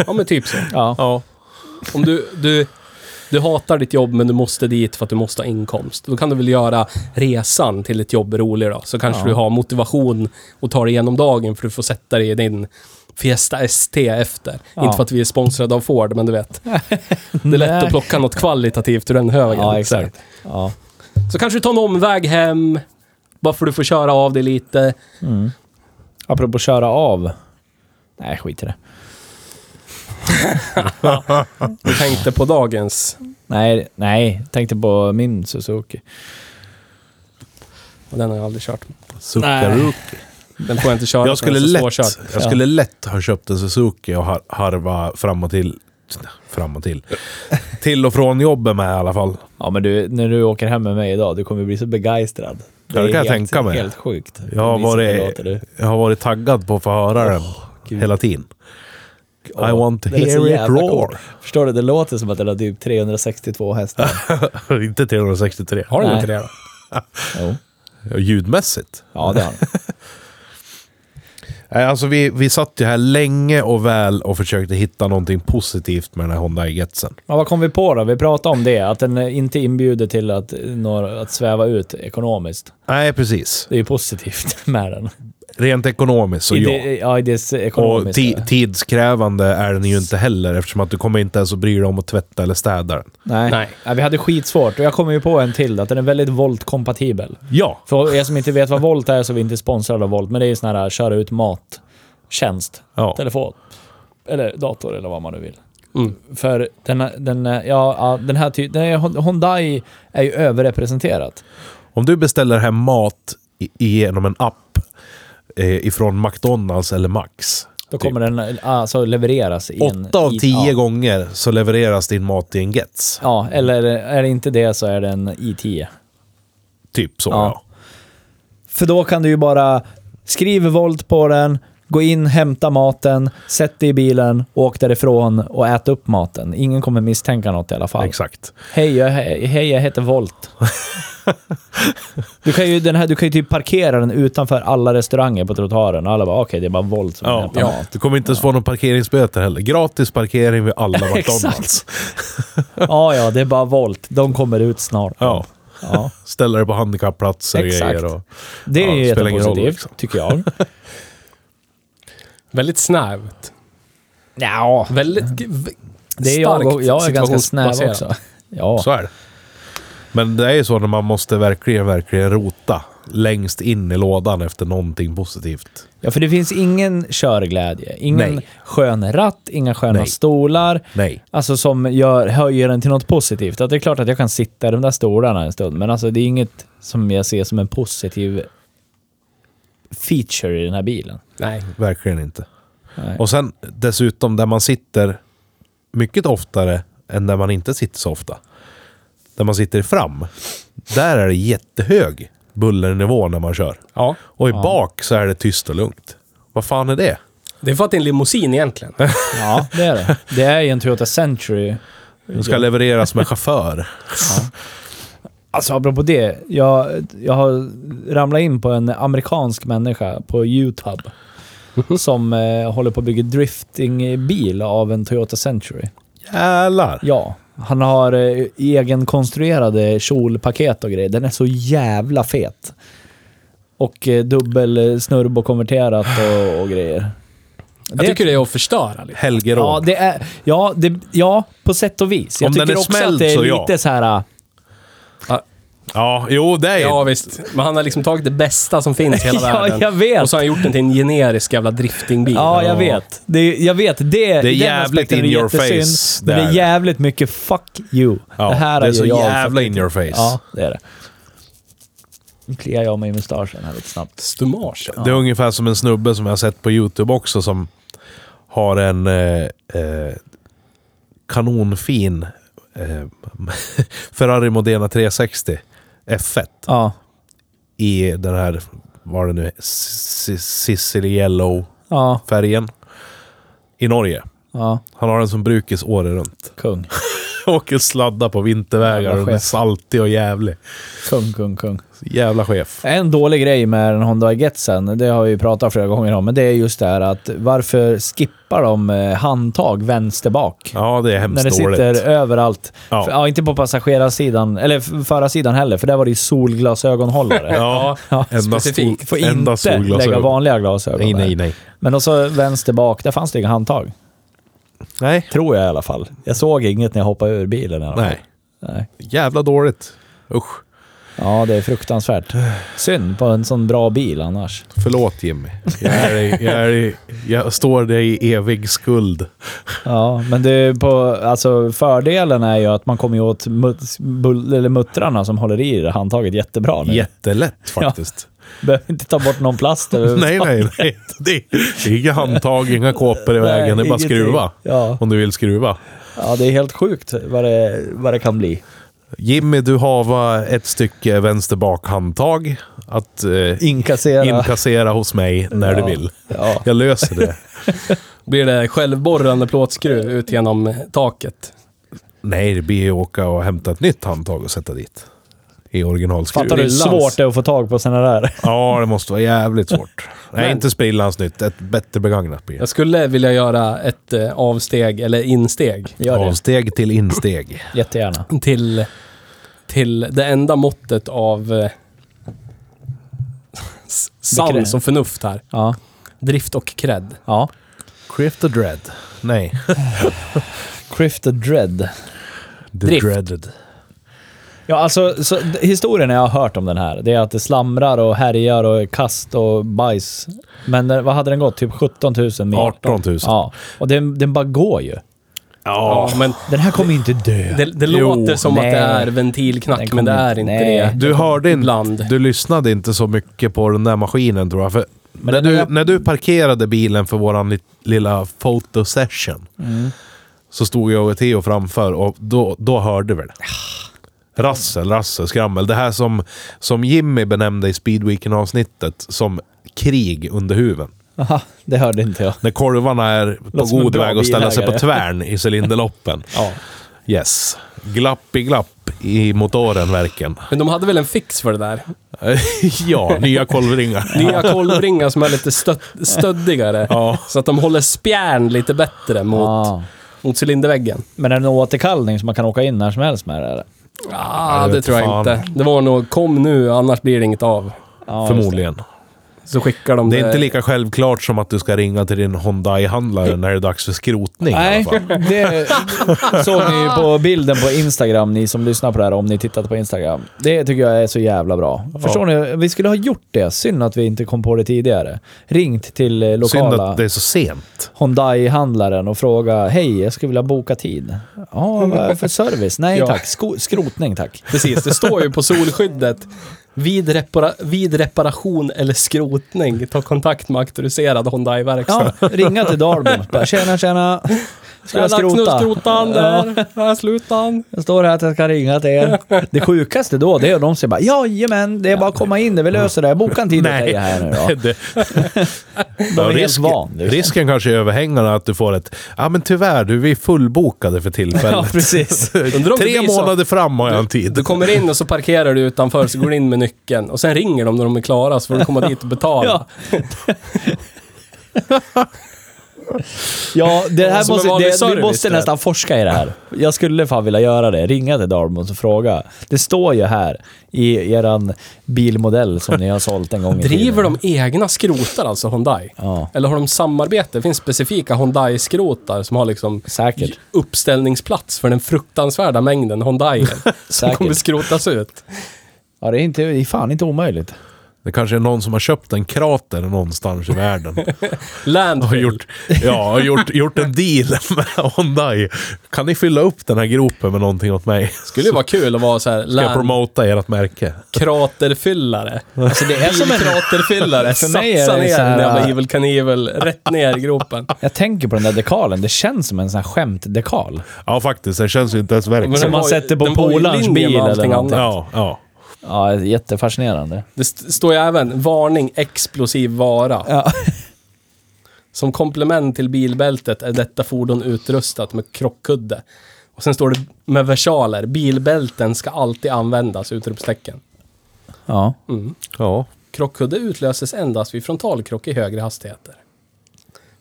Speaker 2: Ja, men typ så.
Speaker 3: Ja.
Speaker 1: ja.
Speaker 2: Om du, du, du hatar ditt jobb men du måste dit för att du måste ha inkomst. Då kan du väl göra resan till ett jobb rolig då. Så kanske
Speaker 3: Ja.
Speaker 2: du har motivation och tar dig igenom dagen för du får sätta dig i din Fiesta ST efter.
Speaker 3: Ja.
Speaker 2: Inte för att vi är sponsrade av Ford, men du vet. Det är lätt
Speaker 3: Nej.
Speaker 2: att plocka något kvalitativt ur den högen.
Speaker 3: Ja, exakt. Ja.
Speaker 2: Så kanske du tar en omväg hem, bara för att du får köra av dig lite.
Speaker 3: Mm. Apropå köra av. Nej, skit i det.
Speaker 2: Jag tänkte på dagens.
Speaker 3: Nej, nej. Tänkte på min Suzuki.
Speaker 2: Och den har jag aldrig kört.
Speaker 1: Suckaruk.
Speaker 2: Den får jag inte köra. för den är
Speaker 1: Jag skulle,
Speaker 2: så
Speaker 1: lätt,
Speaker 2: svårkörd.
Speaker 1: jag skulle lätt ha köpt en Suzuki och har- harva fram och till. Fram och till. Till och från jobbet med i alla fall.
Speaker 3: Ja, men du, när du åker hem med mig idag, du kommer bli så begeistrad.
Speaker 1: Ja, det kan jag
Speaker 3: är helt,
Speaker 1: tänka mig.
Speaker 3: Helt sjukt.
Speaker 1: Jag har,
Speaker 3: Vissa
Speaker 1: varit,
Speaker 3: piloter, du.
Speaker 1: jag har varit taggad på att få höra den
Speaker 3: Gud.
Speaker 1: hela tiden. I
Speaker 3: Åh,
Speaker 1: want to
Speaker 3: det lät så
Speaker 1: hear it
Speaker 3: jävla
Speaker 1: roar.
Speaker 3: coolt. Förstår du? Det låter som att den har typ 362 hästar.
Speaker 1: inte 363.
Speaker 2: Har den
Speaker 3: Nej.
Speaker 2: inte det då?
Speaker 3: jo.
Speaker 1: Ja, Ljudmässigt.
Speaker 3: Ja, det har den.
Speaker 1: Nej, Alltså vi, vi satt ju här länge och väl och försökte hitta någonting positivt med den här Honda Getsen.
Speaker 3: Men vad kom vi på då? Vi pratade om det, att den inte inbjuder till att, några- att sväva ut ekonomiskt.
Speaker 1: Nej, precis.
Speaker 3: Det är ju positivt med den.
Speaker 1: Rent ekonomiskt så
Speaker 3: I
Speaker 1: ja.
Speaker 3: det, ja, i det
Speaker 1: Och
Speaker 3: ekonomiska.
Speaker 1: ti- tidskrävande är den ju inte heller eftersom att du kommer inte ens att bry dig om att tvätta eller städa den.
Speaker 3: Nej.
Speaker 2: Nej.
Speaker 3: Ja, vi hade skitsvårt och jag kommer ju på en till, att den är väldigt voltkompatibel.
Speaker 1: Ja,
Speaker 3: För er som inte vet vad Volt är så är vi inte sponsrade av Volt, men det är ju sån här köra ut mat-tjänst.
Speaker 1: Ja.
Speaker 3: Telefon. Eller dator eller vad man nu vill.
Speaker 2: Mm.
Speaker 3: För den, här- den, ja, ja, den här typen... Hyundai är ju överrepresenterat.
Speaker 1: om du beställer hem mat i- genom en app eh, ifrån McDonalds eller Max.
Speaker 3: Då kommer den alltså levereras i en...
Speaker 1: Typ. Åtta av
Speaker 3: i-
Speaker 1: tio
Speaker 3: ja.
Speaker 1: gånger så levereras din mat i en Gets.
Speaker 3: Ja, eller är det inte det så är det en i10.
Speaker 1: Typ så
Speaker 3: Ja.
Speaker 1: ja.
Speaker 3: För då kan du ju bara skriva volt på den, gå in, hämta maten, sätt dig i bilen, åk därifrån och ät upp maten. Ingen kommer misstänka något i alla fall.
Speaker 1: Exakt.
Speaker 3: Hej, jag, he- hej, jag heter Volt. Du kan, ju, den här, du kan ju typ parkera den utanför alla restauranger på trottoaren och alla bara okej, det är bara Volt som
Speaker 1: Ja,
Speaker 3: hämtar
Speaker 1: ja.
Speaker 3: mat.
Speaker 1: Du kommer inte ens få någon parkeringsböter heller. Gratis parkering vid alla McDonalds.
Speaker 3: Ja, ja, det är bara Volt. De kommer ut snart.
Speaker 1: ja.
Speaker 3: Ja.
Speaker 1: Ställa dig på handikappplatser och
Speaker 3: Exakt.
Speaker 1: grejer. Och,
Speaker 3: Det är
Speaker 1: Ja,
Speaker 3: ju
Speaker 1: det spelar ingen roll,
Speaker 3: jättepositivt,
Speaker 1: liksom.
Speaker 3: tycker jag.
Speaker 2: Väldigt snävt.
Speaker 3: Ja,
Speaker 2: Väldigt g- v-
Speaker 3: det är jag, och- jag är ganska snäv
Speaker 2: situationsbaserat.
Speaker 3: också. Ja.
Speaker 1: Så är det. Men det är ju så när man måste verkligen, verkligen rota längst in i lådan efter någonting positivt.
Speaker 3: Ja, för det finns ingen körglädje. Ingen
Speaker 1: Nej.
Speaker 3: skön ratt, inga sköna
Speaker 1: Nej.
Speaker 3: stolar.
Speaker 1: Nej.
Speaker 3: Alltså som gör, höjer den till något positivt. Att det är klart att jag kan sitta i de där stolarna en stund, men alltså det är inget som jag ser som en positiv feature i den här bilen.
Speaker 2: Nej.
Speaker 1: Verkligen inte.
Speaker 3: Nej.
Speaker 1: Och sen dessutom där man sitter mycket oftare än där man inte sitter så ofta. Där man sitter fram. Där är det jättehög bullernivå när man kör.
Speaker 2: Ja.
Speaker 1: Och i bak så är det tyst och lugnt. Vad fan är det?
Speaker 2: Det är för att det är en limousin egentligen.
Speaker 3: Ja, det är det. Det är ju en Toyota Century.
Speaker 1: Den ska levereras med chaufför.
Speaker 3: Alltså apropå det, jag, jag har ramlat in på en amerikansk människa på YouTube som eh, håller på att bygga driftingbil av en Toyota Century.
Speaker 1: Jävlar!
Speaker 3: Ja, han har eh, egenkonstruerade kjolpaket och grejer. Den är så jävla fet. Och eh, dubbel eh, snurb och konverterat och, och grejer.
Speaker 2: Jag tycker det är att förstöra lite.
Speaker 1: Helgerån.
Speaker 3: Ja, det är, ja, det, ja, på sätt och vis. Jag
Speaker 1: Om den
Speaker 3: tycker
Speaker 1: är
Speaker 3: också
Speaker 1: smälld
Speaker 3: att det är
Speaker 1: så
Speaker 3: lite
Speaker 1: ja.
Speaker 3: så här... äh,
Speaker 1: Ja, jo det är
Speaker 2: Ja,
Speaker 1: ja,
Speaker 2: visst. Men han har liksom tagit det bästa som finns i hela
Speaker 3: Ja,
Speaker 2: världen.
Speaker 3: jag vet.
Speaker 2: Och så har han gjort den till en generisk jävla driftingbil.
Speaker 3: Ja, jag
Speaker 2: Och-
Speaker 3: vet. Det, är- jag vet. Det, det
Speaker 1: är jävligt in your face,
Speaker 3: Men
Speaker 1: det
Speaker 3: det är
Speaker 1: är det.
Speaker 3: jävligt mycket fuck you. det här
Speaker 1: det är
Speaker 3: ju
Speaker 1: så
Speaker 3: jag
Speaker 1: jävla
Speaker 3: faktiskt.
Speaker 1: in your face.
Speaker 3: Ja, det är det. Nu kliar jag mig i mustaschen här lite snabbt.
Speaker 2: Stumage.
Speaker 1: Det är ungefär som en snubbe som jag har sett på YouTube också som har en eh, eh, kanonfin eh, Ferrari Modena 360 F1
Speaker 3: Ja.
Speaker 1: i den här, vad är det nu Si- Sicily Yellow-färgen
Speaker 3: Ja.
Speaker 1: i Norge.
Speaker 3: Ja.
Speaker 1: Han har den som brukes året runt.
Speaker 3: Kung.
Speaker 1: Åker sladda på vintervägar
Speaker 3: Jävla
Speaker 1: och den är
Speaker 3: chef.
Speaker 1: saltig och jävlig.
Speaker 3: Kung, kung, kung.
Speaker 1: Jävla chef.
Speaker 3: En dålig grej med den Honda Getsen, det har vi ju pratat flera gånger om, men det är just det här att varför skippar de eh, handtag vänster bak?
Speaker 1: Ja, det är hemskt
Speaker 3: När det
Speaker 1: dåligt.
Speaker 3: sitter överallt.
Speaker 1: Ja.
Speaker 3: För, ja, inte på passagerarsidan, eller f- förarsidan heller, för där var det ju solglasögonhållare.
Speaker 1: Ja,
Speaker 3: Ja,
Speaker 1: enda, sol,
Speaker 2: specifikt.
Speaker 3: Får
Speaker 1: enda
Speaker 3: inte lägga
Speaker 1: solglasögon.
Speaker 3: vanliga glasögon
Speaker 1: Nej,
Speaker 3: där.
Speaker 1: nej, nej.
Speaker 3: Men också vänster bak, där fanns det inga handtag.
Speaker 1: Nej.
Speaker 3: Tror jag i alla fall. Jag såg inget när jag hoppade ur bilen. i alla fall.
Speaker 1: Nej.
Speaker 3: nej.
Speaker 1: Jävla dåligt. Usch.
Speaker 3: Ja, det är fruktansvärt. Synd på en sån bra bil annars.
Speaker 1: Förlåt Jimmy. Jag, är, i- jag, är, i- jag står dig i evig skuld.
Speaker 3: Ja, men det är på, alltså, fördelen är ju att man kommer ju åt mut, bull, eller muttrarna som håller i det handtaget jättebra nu.
Speaker 1: Jättelätt faktiskt.
Speaker 3: Behöver inte ta bort någon plast
Speaker 1: Nej, nej, nej. Det är, det är inga handtag, inga kåpor i vägen. Det är bara
Speaker 3: ingenting.
Speaker 1: skruva.
Speaker 3: Ja.
Speaker 1: Om du vill skruva.
Speaker 3: ja, det är helt sjukt vad det, vad det kan bli.
Speaker 1: Jimmy, du hava ett stycke vänster bakhandtag att eh,
Speaker 3: Inkassera.
Speaker 1: inkassera hos mig när du
Speaker 3: Ja.
Speaker 1: vill.
Speaker 3: Ja.
Speaker 1: Jag löser det.
Speaker 2: Blir det självborrande plåtskruv ut genom taket?
Speaker 1: Nej, det blir ju åka och hämta ett nytt handtag och sätta dit. I originalskruv.
Speaker 3: Fattar du hur
Speaker 2: Sprillans.
Speaker 3: svårt det är att få tag på sådana där?
Speaker 1: Ja, det måste vara jävligt svårt. Nej,
Speaker 2: Men-
Speaker 1: inte sprillans nytt. Ett bättre begagnat blir det.
Speaker 2: Jag skulle vilja göra ett eh, avsteg, eller insteg,
Speaker 3: Gör det.
Speaker 1: Avsteg till insteg.
Speaker 3: Jättegärna.
Speaker 2: till, till det enda måttet av eh, s- sans
Speaker 3: Bekräm.
Speaker 2: och förnuft här.
Speaker 3: Ja.
Speaker 2: Drift och cred.
Speaker 3: ja.
Speaker 1: Crypt the Dread. Nej.
Speaker 3: Crift and Dread.
Speaker 1: The
Speaker 2: Drift.
Speaker 1: Dreaded.
Speaker 3: Ja, alltså så, d- historien jag har hört om den här, det är att det slamrar och härjar och är kast och bajs. Men den, vad hade den gått? Typ 17 000 mil?
Speaker 1: 18 000.
Speaker 3: Ja, och den, den bara går ju.
Speaker 2: Ja, men
Speaker 3: Den här kommer ju inte dö.
Speaker 2: det, det
Speaker 1: Jo,
Speaker 2: låter som
Speaker 3: nej.
Speaker 2: att det är
Speaker 3: Den
Speaker 2: ventilknack,
Speaker 3: kommer
Speaker 2: men det är
Speaker 3: inte-
Speaker 2: inte
Speaker 3: nej.
Speaker 2: det.
Speaker 1: Du hörde
Speaker 2: Ibland.
Speaker 1: inte, du lyssnade inte så mycket på den där maskinen tror jag. För när,
Speaker 3: den
Speaker 1: du,
Speaker 3: där-
Speaker 1: när du parkerade bilen för våran li- lilla fotosession
Speaker 2: Mm.
Speaker 1: så stod jag och Theo framför och då, då hörde vi det. Rassel, rassel, skrammel. Det här som, som Jimmy benämnde i Speedweeken-avsnittet som krig under huven.
Speaker 3: Aha, det hörde inte jag.
Speaker 1: När korvarna är på
Speaker 3: Låter som en
Speaker 1: god
Speaker 3: bra
Speaker 1: väg att ställa sig på
Speaker 3: bilägare.
Speaker 1: tvären i cylinderloppen.
Speaker 3: Ja.
Speaker 1: Yes. Glapp i glapp i motoren verken.
Speaker 2: Men de hade väl en fix för det där?
Speaker 1: ja, nya kolvringar.
Speaker 2: Nya kolvringar som är lite stött, stöddigare.
Speaker 1: Ja.
Speaker 2: Så att de håller spjärn lite bättre mot,
Speaker 3: Ah.
Speaker 2: mot cylinderväggen.
Speaker 3: Men är det en återkallning som man kan åka in när som helst med det? Eller?
Speaker 2: Ah,
Speaker 1: jag
Speaker 2: det
Speaker 1: vet
Speaker 2: tror jag
Speaker 1: fan.
Speaker 2: inte. Det var nog kom nu, annars blir det inget av.
Speaker 3: Ja, just det. Eh.
Speaker 1: Förmodligen.
Speaker 2: Så skickar de
Speaker 1: Det är inte lika självklart som att du ska ringa till din Hyundai-handlare när det är dags för skrotning i
Speaker 3: Nej,
Speaker 1: alla fall.
Speaker 3: det såg ni ju på bilden på Instagram, ni som lyssnar på det här, om ni tittat på Instagram. Det tycker jag är så jävla bra. Förstår ni? Vi skulle ha gjort det. Synd att vi inte kom på det tidigare. Ringt till eh,
Speaker 1: Synd
Speaker 3: lokala
Speaker 1: att det är så sent.
Speaker 3: Hyundai-handlaren och fråga Hej, jag skulle vilja boka tid. Ja, vad är det för service? Nej
Speaker 2: Ja.
Speaker 3: tack. Sko- skrotning tack.
Speaker 2: Precis, det står ju på solskyddet. Vid, repara vid reparation eller skrotning, ta kontakt med auktoriserad Hyundai-verkstad.
Speaker 3: Ja, ringa till Dalbo. Bara, Tjena, tjena. Ska jag skrota?
Speaker 2: Skrotan där, här slutan.
Speaker 3: Jag står här att jag ska ringa till er. Det sjukaste då, det är att de säger bara Jajamän, det är bara att komma in, det vi löser det. Boka en tid åt dig här nu då.
Speaker 1: Det, Ja,
Speaker 3: De är helt
Speaker 1: risk-
Speaker 3: van. du.
Speaker 1: risken kanske är överhängande att du får ett ja men tyvärr du, vi är fullbokade för
Speaker 3: Ja,
Speaker 1: tillfället.
Speaker 3: precis.
Speaker 2: Undrar om det
Speaker 1: Tre
Speaker 2: blir så.
Speaker 1: månader fram har jag en tid.
Speaker 2: Du kommer in och så parkerar du utanför, så går du in med nyckeln. Och sen ringer de när de är klara, så får du komma dit och betala.
Speaker 3: Ja. Ja, det här
Speaker 2: Som en
Speaker 3: måste,
Speaker 2: vanlig
Speaker 3: det, vi
Speaker 2: service
Speaker 3: måste
Speaker 2: där.
Speaker 3: nästan forska i det här. Jag skulle fan vilja göra det. Ringa till Darmons och fråga. Det står ju här i eran bilmodell som ni har sålt en gång i
Speaker 2: Driver
Speaker 3: tiden.
Speaker 2: de egna skrotar alltså, Hyundai?
Speaker 3: Ja,
Speaker 2: Eller har de samarbete? Det finns specifika Hyundai-skrotar som har liksom
Speaker 3: säkert.
Speaker 2: uppställningsplats för den fruktansvärda mängden Hyundai som
Speaker 3: Säkert.
Speaker 2: kommer skrotas ut.
Speaker 3: Ja, det är, inte, det är fan inte omöjligt.
Speaker 1: Det kanske är någon som har köpt en krater någonstans i världen.
Speaker 2: Landfill.
Speaker 1: Har gjort, ja, har gjort, gjort en deal med Hyundai. Kan ni fylla upp den här gropen med någonting åt mig?
Speaker 2: Skulle ju vara kul att vara så här
Speaker 1: Ska jag
Speaker 2: land-
Speaker 1: promota ert märke?
Speaker 2: kraterfyllare.
Speaker 3: Alltså, det är som en
Speaker 2: Kraterfyllare.
Speaker 3: För mig är
Speaker 2: Satsa
Speaker 3: det
Speaker 2: ner
Speaker 3: så
Speaker 2: den
Speaker 3: här-
Speaker 2: jävla Evil Knievel rätt ner i gropen.
Speaker 3: Jag tänker på den där dekalen. Det känns som en sån här skämtdekal.
Speaker 1: Ja, faktiskt. Det känns ju inte ens
Speaker 2: Men
Speaker 1: verksamt.
Speaker 3: Som
Speaker 2: den
Speaker 3: man
Speaker 2: var ju-
Speaker 3: sätter på
Speaker 2: den var ju i
Speaker 3: polarns
Speaker 2: linje med
Speaker 3: bil eller
Speaker 2: allting
Speaker 3: någonting.
Speaker 2: annat.
Speaker 1: Ja, ja.
Speaker 3: Ja, jättefascinerande.
Speaker 2: Det st- står ju även varning explosiv vara.
Speaker 3: Ja.
Speaker 2: Som komplement till bilbältet är detta fordon utrustat med krockkudde. Och sen står det med versaler, bilbälten ska alltid användas! Utropstecken.
Speaker 3: ja.
Speaker 2: Mm.
Speaker 1: ja.
Speaker 2: Krockkudde utlöses endast vid frontalkrock i högre hastigheter.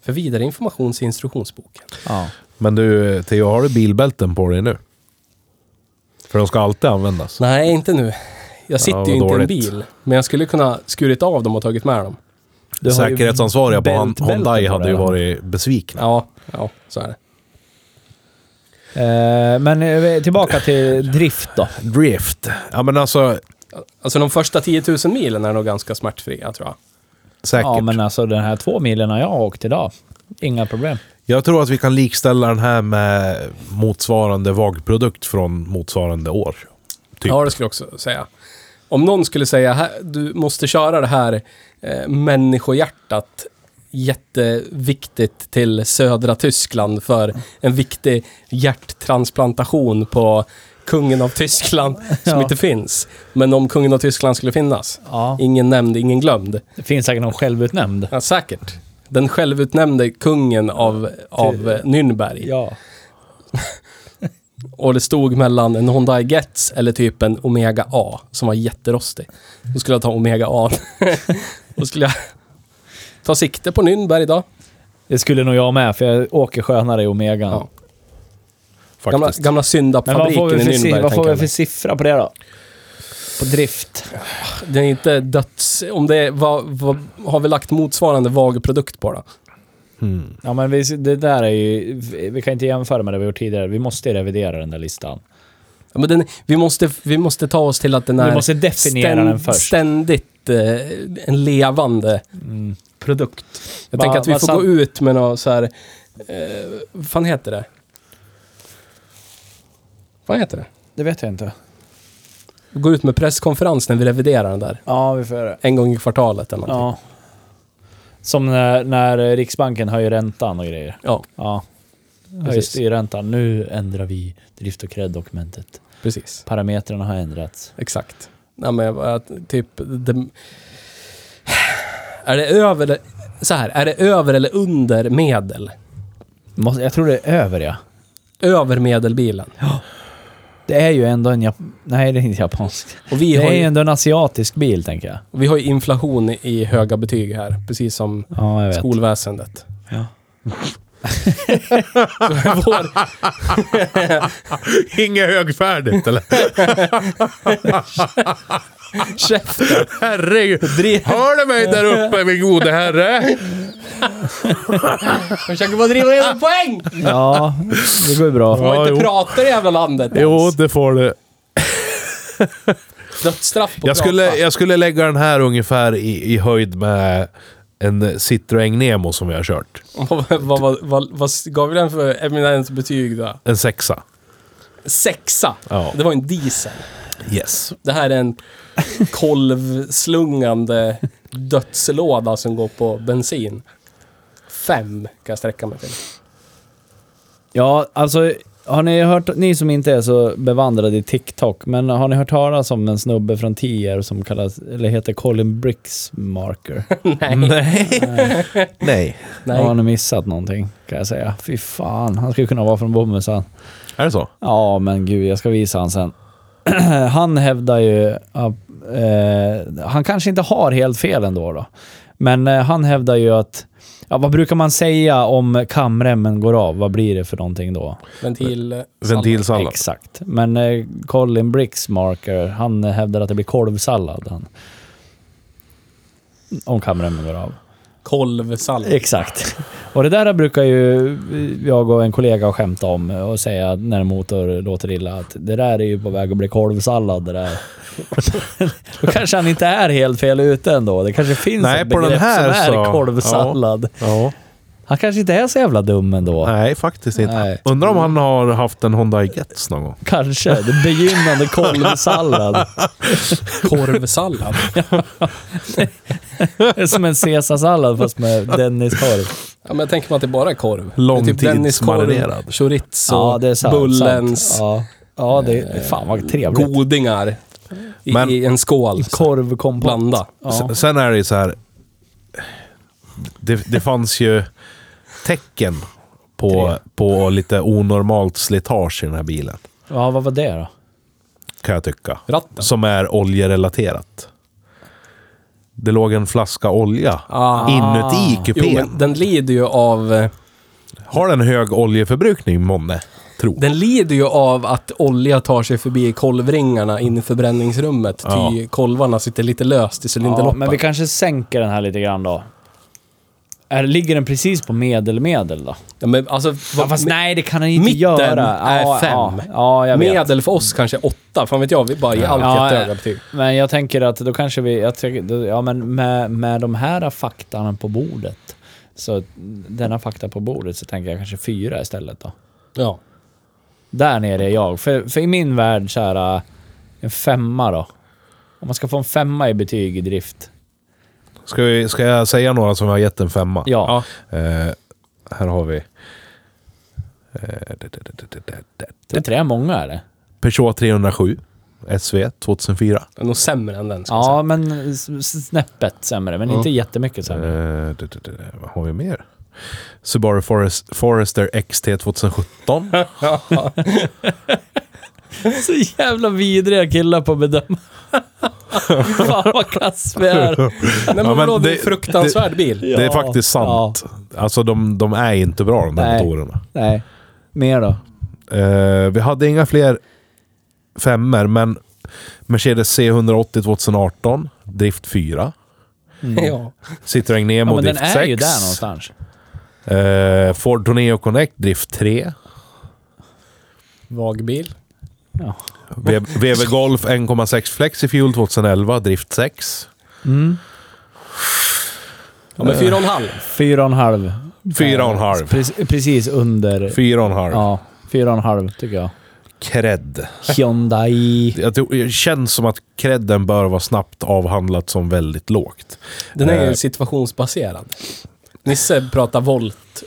Speaker 2: För vidare information se instruktionsboken.
Speaker 3: ja.
Speaker 1: Men du, Theo, har du bilbälten på dig nu? För de ska alltid användas.
Speaker 2: Nej, inte nu. Jag sitter
Speaker 1: vad
Speaker 2: ju inte i en
Speaker 1: dåligt.
Speaker 2: bil, men jag skulle kunna skurit av dem och tagit med dem.
Speaker 3: Du har ju
Speaker 1: Säkerhetsansvariga på Han-
Speaker 3: bältbälte
Speaker 1: Hyundai
Speaker 3: på
Speaker 1: hade
Speaker 3: det,
Speaker 1: ju
Speaker 3: va?
Speaker 1: varit besvikna.
Speaker 2: Ja, ja, så är det.
Speaker 3: Eh, men eh, tillbaka till drift då.
Speaker 1: Drift. Ja, men alltså
Speaker 2: Alltså de första 10 000 milen är nog ganska smärtfria, tror jag.
Speaker 1: säkert.
Speaker 3: Ja, men alltså den här två milen jag har åkt idag. Inga problem.
Speaker 1: Jag tror att vi kan likställa den här med motsvarande VAG-produkt från motsvarande år. Typ.
Speaker 2: Ja, det skulle jag också säga. Om någon skulle säga, "Här, du måste köra det här eh, människohjärtat jätteviktigt till södra Tyskland för en viktig hjärttransplantation på kungen av Tyskland som
Speaker 3: Ja.
Speaker 2: inte finns. Men om kungen av Tyskland skulle finnas.
Speaker 3: Ja.
Speaker 2: Ingen nämnd, ingen glömd.
Speaker 3: Det finns säkert någon självutnämnd.
Speaker 2: Ja, säkert. Den självutnämnde kungen av, av eh, Nürnberg.
Speaker 3: Ja.
Speaker 2: Och det stod mellan en Hyundai Getz eller typ en Omega A som var jätterostig. Då skulle jag ta Omega A. Då skulle jag ta sikte på Nynberg idag.
Speaker 3: Det skulle nog jag med, för jag åker skönare i Omegan.
Speaker 2: Ja, gamla
Speaker 1: faktiskt.
Speaker 2: gamla
Speaker 3: Men vad får,
Speaker 2: syndapfabriken
Speaker 3: vi
Speaker 2: i
Speaker 3: för, si-
Speaker 2: Nynberg.
Speaker 3: vad
Speaker 2: tänker
Speaker 3: får vi
Speaker 2: jag
Speaker 3: för
Speaker 2: mig.
Speaker 3: siffra på det då? På drift?
Speaker 2: Det är inte döds... Om det är, vad, vad har vi lagt motsvarande vag produkt på då?
Speaker 1: Mm.
Speaker 3: Ja, men vi, det där är ju... Vi kan inte jämföra med det vi gjort tidigare. Vi måste revidera den där listan.
Speaker 2: Ja, men den, vi, måste, vi måste ta oss till att den är
Speaker 3: Vi måste definiera
Speaker 2: ständ-
Speaker 3: den först.
Speaker 2: ständigt eh, en levande
Speaker 3: Mm.
Speaker 2: produkt. Jag
Speaker 3: Va-
Speaker 2: tänker att vi
Speaker 3: vad
Speaker 2: får
Speaker 3: sant-
Speaker 2: gå ut med något så här... Eh, vad fan heter det? Vad heter det?
Speaker 3: Det vet jag inte.
Speaker 2: Gå ut med presskonferens när vi reviderar den där.
Speaker 3: Ja, vi får göra det.
Speaker 2: En gång i kvartalet eller någonting.
Speaker 3: Ja. Som när, när Riksbanken höjer räntan och grejer.
Speaker 2: Ja,
Speaker 3: Ja. Höjer
Speaker 2: Precis.
Speaker 3: styrräntan. Nu ändrar vi drift och cred-dokumentet.
Speaker 2: precis.
Speaker 3: Parametrarna har ändrats.
Speaker 2: Exakt. Nej, men jag bara, typ... Det, är det över... Så här, är det över eller under medel?
Speaker 3: Måste- Jag tror det är över, ja.
Speaker 2: Över medelbilen.
Speaker 3: Det är ju ändå en jap... Nej, det är inte japansk.
Speaker 2: Och vi
Speaker 3: Det
Speaker 2: har,
Speaker 3: är ju
Speaker 2: ju,
Speaker 3: ändå en asiatisk bil, tänker jag.
Speaker 2: vi har ju inflation i höga betyg här, precis som
Speaker 3: Ja, jag vet.
Speaker 2: skolväsendet.
Speaker 3: Ja.
Speaker 2: Vår,
Speaker 1: Inget högfärdigt eller?
Speaker 2: käften.
Speaker 1: Herregud. Hör du mig där uppe min gode herre?
Speaker 2: Försöker bara driva in en poäng!
Speaker 3: Ja, det går
Speaker 2: Får
Speaker 3: ju bra.
Speaker 2: man
Speaker 1: Ja,
Speaker 2: inte
Speaker 1: jo.
Speaker 2: prata i det jävla landet
Speaker 1: Jo,
Speaker 2: ens.
Speaker 1: det får du.
Speaker 2: Dödsstraff på
Speaker 1: Jag skulle,
Speaker 2: prata.
Speaker 1: jag skulle lägga den här ungefär i, i höjd med en Citroën Nemo som vi har kört.
Speaker 2: vad, vad, vad, vad, vad gav vi den för eminens betyg då?
Speaker 1: En sexa.
Speaker 2: Sexa!
Speaker 1: Ja.
Speaker 2: Det var en diesel.
Speaker 1: Yes.
Speaker 2: Det här är en kolvslungande dödslåda som går på bensin. Fem kan jag sträcka mig till.
Speaker 3: Ja, alltså har ni hört, ni som inte är så bevandrade i TikTok, men har ni hört talas om en snubbe från Tierp som kallas, eller heter Colin Bricksmarker?
Speaker 1: Nej. Nej.
Speaker 3: Ja,
Speaker 2: Nej.
Speaker 3: han har missat någonting kan jag säga. Fy fan, han skulle kunna vara från Bomhusan.
Speaker 1: Är det så?
Speaker 3: Ja, men gud, jag ska visa han sen. han hävdar ju... att, eh, han kanske inte har helt fel ändå då. Men eh, han hävdar ju att... Ja, vad brukar man säga om kamremmen går av? Vad blir det för någonting då?
Speaker 2: Ventil...
Speaker 1: Ventilsallad.
Speaker 3: Exakt. Men eh, Colin Bricksmarker, han hävdar att det blir kolvsallad. Han. Om kamremmen går av.
Speaker 1: Mm.
Speaker 2: Kolvsallad.
Speaker 3: Exakt. Och det där brukar ju eh, jag och en kollega skämta om och säga när en motor låter illa att det där är ju på väg att bli kolvsallad det där. Då kanske han inte är helt fel ute ändå. Det kanske finns
Speaker 1: Nej,
Speaker 3: ett
Speaker 1: på den
Speaker 3: begrepp
Speaker 1: här
Speaker 3: som är
Speaker 1: så-
Speaker 3: kolvsallad.
Speaker 1: Ja.
Speaker 3: Han kanske inte är så jävla dum ändå.
Speaker 1: Nej, faktiskt inte.
Speaker 3: Nej.
Speaker 1: Undrar om han har haft en Honda Getz någon gång?
Speaker 3: Kanske. Det begynnande kolvsallad.
Speaker 2: Korvsallad.
Speaker 3: Som en caesarsallad fast med Dennis-korv.
Speaker 2: Ja, men jag tänker mig att det bara är korv. Det är typ
Speaker 1: Långtidsmarinerad.
Speaker 2: chorizo,
Speaker 3: Ja, det är sant.
Speaker 2: bullens,
Speaker 3: Sant. Ja. ja, det
Speaker 1: Eh,
Speaker 3: är... Fan vad trevligt.
Speaker 2: godingar. I,
Speaker 1: Men-
Speaker 2: I en skål.
Speaker 3: Korvkompott.
Speaker 2: Blanda.
Speaker 3: Ja.
Speaker 1: S- Sen är det ju så här. Det, det fanns ju tecken på, på lite onormalt slitage i den här bilen.
Speaker 3: Ja, vad var det då?
Speaker 1: Kan jag tycka.
Speaker 2: Ratten.
Speaker 1: Som är oljerelaterat. Det låg en flaska olja
Speaker 2: Ah.
Speaker 1: inuti
Speaker 2: Jo,
Speaker 1: kupén.
Speaker 2: men den lider ju av... eh,
Speaker 1: Har den hög oljeförbrukning, månne? Tro.
Speaker 2: Den lider ju av att olja tar sig förbi kolvringarna in i förbränningsrummet. Ty
Speaker 1: Ja.
Speaker 2: kolvarna sitter lite löst i
Speaker 3: Ja,
Speaker 2: cylinderloppen.
Speaker 3: men vi kanske sänker den här lite grann då. Är, ligger den precis på medelmedel då?
Speaker 2: ja, men alltså,
Speaker 3: Ja,
Speaker 2: vad-
Speaker 3: fast
Speaker 2: me-
Speaker 3: nej, det kan den inte
Speaker 2: mitten
Speaker 3: göra.
Speaker 2: är
Speaker 3: ja,
Speaker 2: fem.
Speaker 3: Ja, ja, jag vet.
Speaker 2: Medel för oss kanske åtta, fan vet jag. Vi bara ger allt
Speaker 3: Ja,
Speaker 2: jättehöga
Speaker 3: ja.
Speaker 2: betyg.
Speaker 3: Men jag tänker att då kanske vi... Jag tycker, då, ja, men med, med de här faktan på bordet. Så denna fakta på bordet så tänker jag kanske fyra istället då.
Speaker 2: Ja.
Speaker 3: Där nere är jag. För, för i min värld så här... äh, En femma då. Om man ska få en femma i betyg i drift.
Speaker 1: Ska, vi, ska jag säga några som har gett en femma?
Speaker 3: Ja.
Speaker 2: Ja.
Speaker 1: Eh, här har vi... Eh, det- det- det- det- det- det-
Speaker 3: Det är inte det många eller?
Speaker 1: Peugeot 307 SV 2004.
Speaker 2: Det är nog sämre än den, ska jag säga.
Speaker 3: Ja, men s- s- snäppet sämre. Men inte jättemycket
Speaker 1: Eh,
Speaker 3: sämre.
Speaker 1: det- det- det- vad har vi mer? Subaru Forest, Forester XT 2017.
Speaker 3: Så jävla vidriga killar på att bedöma. Fan vad kass vi är.
Speaker 2: Nej, men
Speaker 1: Ja, men
Speaker 2: vadå, det är en
Speaker 1: det-
Speaker 2: fruktansvärd bil.
Speaker 1: Det är
Speaker 3: Ja.
Speaker 1: faktiskt sant. Alltså de, de är inte bra de där
Speaker 3: Nej.
Speaker 1: motorerna.
Speaker 3: Nej. Mer då?
Speaker 1: Eh, vi hade inga fler femmer men Mercedes C180 2018, drift 4.
Speaker 3: Mm.
Speaker 2: Ja.
Speaker 1: Citroën Nemo,
Speaker 3: Ja, men den
Speaker 1: drift
Speaker 3: är
Speaker 1: 6.
Speaker 3: ju där någonstans.
Speaker 1: Eh, Ford Torneo Connect, drift 3.
Speaker 2: Vag bil.
Speaker 3: Ja.
Speaker 1: V- VW Golf 1,6 Flexifuel 2011, drift 6.
Speaker 3: Mm.
Speaker 2: Ja, men fyra och en halv.
Speaker 3: Fyra och en halv.
Speaker 1: Fyra och en halv.
Speaker 3: Pre- precis under.
Speaker 1: Fyra och en halv.
Speaker 3: Ja, fyra och en halv tycker jag.
Speaker 1: Cred.
Speaker 3: Hyundai.
Speaker 1: Jag tror, det känns som att credden bör vara snabbt avhandlat som väldigt lågt.
Speaker 2: Den är ju
Speaker 1: Eh.
Speaker 2: situationsbaserad. Nisse pratar volt,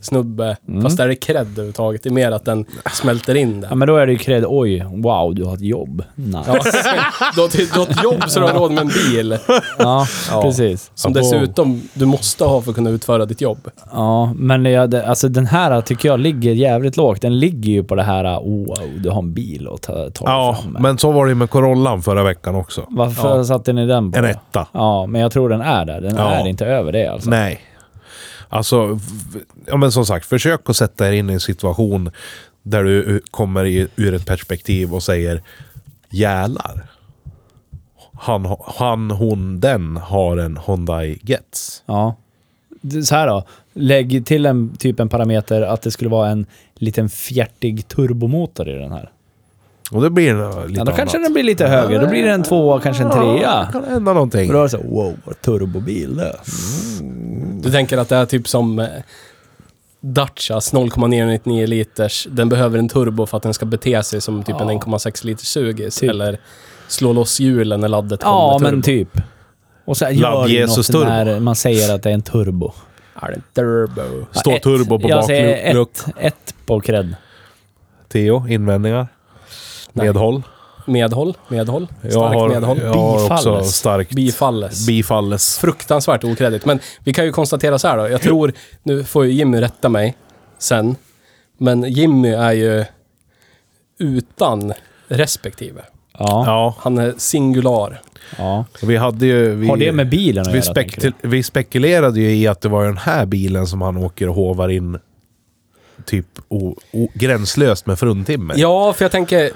Speaker 2: snubbe, fast där är det cred överhuvudtaget. Det är mer att den smälter in
Speaker 3: Ja,
Speaker 2: där.
Speaker 3: men då är det ju cred. Oj, wow, du har ett jobb. Nice.
Speaker 2: Ja, du, har till, du har ett jobb så du har råd med en bil.
Speaker 3: Ja,
Speaker 2: Ja.
Speaker 3: precis.
Speaker 2: Som
Speaker 1: Ja, wow.
Speaker 2: dessutom du måste ha för att kunna utföra ditt jobb.
Speaker 3: Ja, men jag, det- alltså den här tycker jag ligger jävligt lågt. Den ligger ju på det här, oh, wow, du har en bil att ta, ta dig
Speaker 1: Ja,
Speaker 3: fram med.
Speaker 1: men så var det ju med Corollan förra veckan också.
Speaker 3: Varför satte ni den på?
Speaker 1: En etta.
Speaker 3: Ja, men jag tror den är där. Den
Speaker 1: Ja.
Speaker 3: är inte över det alltså.
Speaker 1: Nej. Alltså, v- ja men som sagt, försök att sätta er in i en situation där du u- kommer i, ur ett perspektiv och säger jälar. Han, han, hon, den har en Hyundai Gets.
Speaker 3: Ja. Det- Så här då. Lägg till en typ en parameter att det skulle vara en liten fjärtig turbomotor i den här.
Speaker 1: Och då blir det lite
Speaker 3: Ja, då kanske
Speaker 1: annat.
Speaker 3: den blir lite högre. Då blir det en tvåa, kanske en
Speaker 1: Ja, det
Speaker 3: trea.
Speaker 1: kan hända någonting.
Speaker 3: Och då är det så wow, vad turbobil det.
Speaker 2: Du tänker att det är typ som eh, Datchas 0,999 liters. Den behöver en turbo för att den ska bete sig som typ en
Speaker 3: Ja.
Speaker 2: 1,6 liters sugis.
Speaker 3: Typ.
Speaker 2: Eller slå loss hjulen när laddet
Speaker 3: Ja,
Speaker 2: kommer.
Speaker 3: men typ. Och så här, gör
Speaker 1: Labb
Speaker 3: det
Speaker 1: Jesus
Speaker 3: något
Speaker 1: turbo.
Speaker 3: när man säger att det är en turbo.
Speaker 2: Är det en turbo?
Speaker 3: Ja,
Speaker 1: Står
Speaker 3: ett-
Speaker 1: turbo på
Speaker 3: Jag säger
Speaker 1: bakluck.
Speaker 3: ett, ett på cred.
Speaker 1: Theo, invändningar?
Speaker 2: Nej.
Speaker 1: Medhåll?
Speaker 2: Medhåll, medhåll. Starkt
Speaker 1: Jag har,
Speaker 2: medhåll.
Speaker 1: jag har också
Speaker 3: Bifalles.
Speaker 1: starkt
Speaker 2: Bifalles.
Speaker 1: bifalles.
Speaker 2: Fruktansvärt okreddigt. Men vi kan ju konstatera så här då. Jag tror, nu får ju Jimmy rätta mig sen. Men Jimmy är ju utan respektive.
Speaker 3: Ja.
Speaker 1: Ja,
Speaker 2: Han är singular.
Speaker 3: ja.
Speaker 1: vi hade ju... Vi,
Speaker 3: Har det med bilen att
Speaker 1: vi,
Speaker 3: göra? tänker du?
Speaker 1: spekul- vi spekulerade ju i att det var den här bilen som han åker och hovar in typ o- o- gränslöst med fruntimmer.
Speaker 2: Ja, för jag tänker,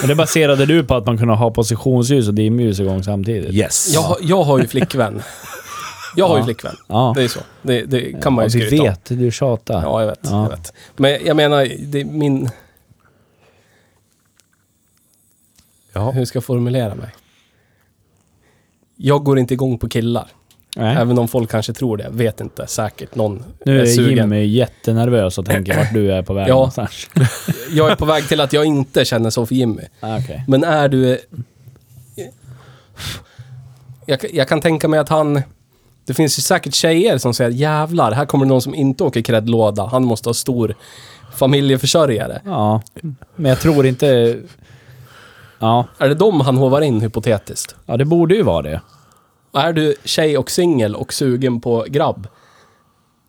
Speaker 3: Men det baserade du på att man kunde ha positionsljus och dimljus igång samtidigt?
Speaker 1: Yes.
Speaker 2: jag, har- jag har ju flickvän. Jag har ju flickvän.
Speaker 3: Ja.
Speaker 2: Det är så. Det, det kan man ju
Speaker 3: Ja, du
Speaker 2: skryta om.
Speaker 3: vet, du tjatar.
Speaker 2: Ja, jag vet.
Speaker 3: Ja.
Speaker 2: Jag vet. Men jag menar, det är min...
Speaker 1: Ja.
Speaker 2: Hur ska jag formulera mig? Jag går inte igång på killar.
Speaker 3: Nej.
Speaker 2: Även om folk kanske tror det. Vet inte. Säkert någon
Speaker 3: Nu
Speaker 2: är
Speaker 3: är
Speaker 2: sugen.
Speaker 3: Jimmy jättenervös och tänker vart du är på väg
Speaker 2: Ja.
Speaker 3: någonstans.
Speaker 2: Jag är på väg till att jag inte känner så för Jimmy.
Speaker 3: Ah, okej.
Speaker 2: Men är du... Jag, jag kan tänka mig att han... Det finns ju säkert tjejer som säger jävlar, här kommer det någon som inte åker kräddlåda. Han måste ha stor familjeförsörjare.
Speaker 3: Ja, men jag tror inte... Ja,
Speaker 2: Är det dem han hovar in hypotetiskt?
Speaker 3: ja det borde ju vara det.
Speaker 2: Och är du tjej och singel och sugen på grabb,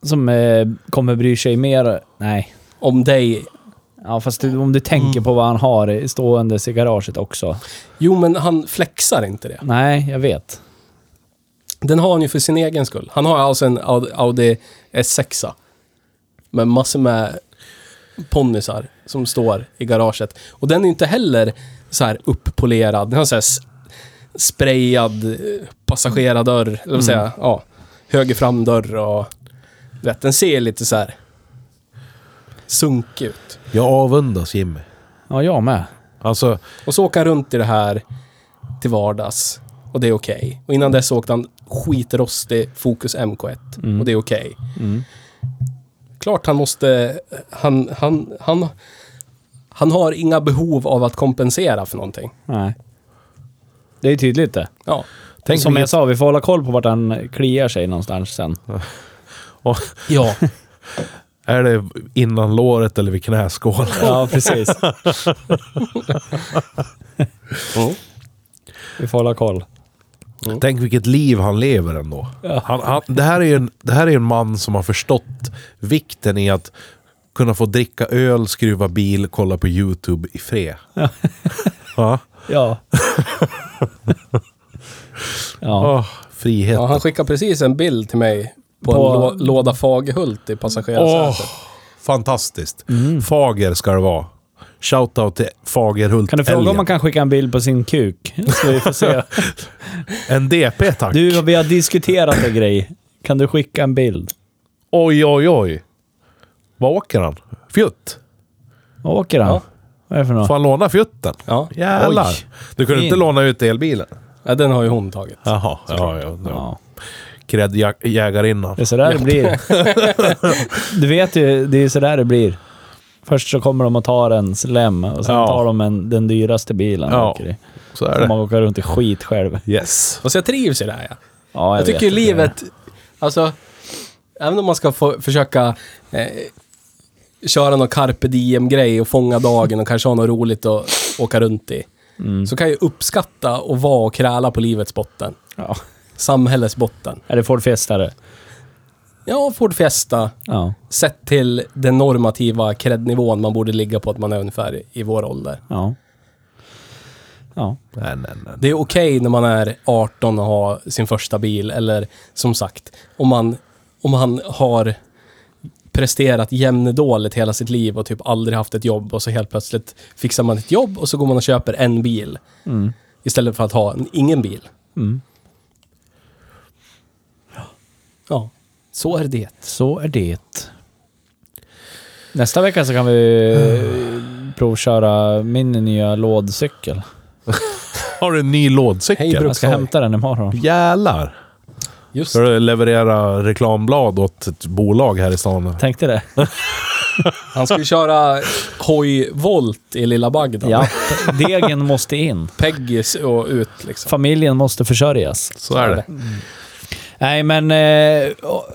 Speaker 3: Som eh, kommer bry sig mer... Nej.
Speaker 2: om dig...
Speaker 3: Ja, fast du, om du tänker på vad han har i- ståendes i garaget också.
Speaker 2: Jo, men han flexar inte det.
Speaker 3: Nej, jag vet.
Speaker 2: Den har han ju för sin egen skull. Han har alltså en Audi- Audi S6. Med massor med ponnysar som står i garaget. Och den är ju inte heller så här upppolerad. Den har så här s- sprayad eh, passagerardörr, eller vad säger jag? Ja. Höger framdörr och... du Vet, den ser lite så här sunkig ut.
Speaker 1: Jag avundas Jimmy.
Speaker 3: Ja, jag med.
Speaker 1: Alltså,
Speaker 2: Och så åker han runt i det här till vardags. Och det är okej. Och innan dess åkte han skitrostig Focus MK1. Och det är okej. Klart han måste... Han, han, han, han har inga behov av att kompensera för någonting.
Speaker 3: Nej. Det är ju tydligt det.
Speaker 2: Ja.
Speaker 1: Tänk
Speaker 3: Som
Speaker 1: vilket-
Speaker 3: jag sa, vi får hålla koll på vart han kliar sig någonstans sen.
Speaker 1: och-
Speaker 2: Ja.
Speaker 1: är det innan låret eller vid knäskålen?
Speaker 3: Ja, precis. Vi får hålla koll. Mm.
Speaker 1: Tänk vilket liv han lever ändå. Han, han, det, här är ju en, det här är ju en man som har förstått vikten i att kunna få dricka öl, skruva bil, kolla på YouTube i fred. Ja.
Speaker 3: Ja. ja.
Speaker 1: Åh, frihet.
Speaker 2: ja han skickade precis en bild till mig på,
Speaker 3: På-
Speaker 2: en lå, låda Fagerhult i
Speaker 1: Åh,
Speaker 2: passagerarsätet.
Speaker 1: fantastiskt.
Speaker 3: Mm.
Speaker 1: Fager ska det vara. Shoutout till Fagerhult
Speaker 3: Kan du fråga om man
Speaker 1: Älgen.
Speaker 3: kan skicka en bild på sin kuk? Så vi får se.
Speaker 1: En DP tack.
Speaker 3: Du, vi har diskuterat en grej. Kan du skicka en bild?
Speaker 1: Oj, oj, oj. Vad åker han? Fjutt?
Speaker 3: Vad åker han?
Speaker 2: Ja.
Speaker 3: Vad är det för
Speaker 1: Får
Speaker 3: något?
Speaker 1: han låna fjutten?
Speaker 2: Ja.
Speaker 1: Jävlar.
Speaker 3: Oj.
Speaker 1: Du kunde inte
Speaker 3: In.
Speaker 1: låna ut elbilen?
Speaker 2: ja, den har ju hon tagit.
Speaker 1: Jaha. Ja, ja, ja.
Speaker 3: Ja.
Speaker 1: Kräddjägarinnan.
Speaker 3: Det är sådär det blir. Du vet ju, det är sådär det blir. Först så kommer de och tar ens lem och sen
Speaker 1: Ja.
Speaker 3: tar de en, den dyraste bilen.
Speaker 1: Ja.
Speaker 3: Ja. Åker i.
Speaker 1: Så är
Speaker 3: Får man
Speaker 1: det.
Speaker 3: åka runt i skit själv.
Speaker 1: Yes.
Speaker 2: Fast jag trivs i det här. Ja.
Speaker 3: Ja,
Speaker 2: Jag, tycker
Speaker 3: vet
Speaker 2: ju
Speaker 3: att det är-
Speaker 2: livet, alltså, även om man ska få, försöka eh, köra någon carpe diem-grej och fånga dagen och kanske ha något roligt att åka runt i. Så kan jag ju uppskatta och vara och kräla på livets botten.
Speaker 3: Ja.
Speaker 2: Samhällets botten.
Speaker 3: Är det Ford Fiesta det?
Speaker 2: Ja, Ford Fiesta,
Speaker 3: Ja.
Speaker 2: sett till den normativa kreddnivån man borde ligga på att man är ungefär i vår ålder.
Speaker 3: Ja. Ja.
Speaker 1: Nej, nej, nej.
Speaker 2: Det är okej när man är 18 och har sin första bil, eller som sagt, om man, om han har presterat jämndåligt hela sitt liv och typ aldrig haft ett jobb och så helt plötsligt fixar man ett jobb och så går man och köper en bil
Speaker 3: Mm.
Speaker 2: istället för att ha en, ingen bil.
Speaker 3: Mm.
Speaker 2: Ja, så är det.
Speaker 3: Så är det. Nästa vecka så kan vi eh, provköra min nya lådcykel.
Speaker 1: Har du en ny lådcykel?
Speaker 2: Hej, bror.
Speaker 3: Jag ska
Speaker 2: Sorry.
Speaker 3: hämta den imorgon.
Speaker 1: Jävlar!
Speaker 2: Just
Speaker 1: Ska du leverera reklamblad åt ett bolag här i stan?
Speaker 3: Tänkte det?
Speaker 2: Han ska ju köra hojvolt i lilla Bagdad.
Speaker 3: Ja. Degen måste in.
Speaker 2: Peggis och ut liksom.
Speaker 3: Familjen måste försörjas.
Speaker 1: Så är det.
Speaker 3: Nej, men... Eh, och,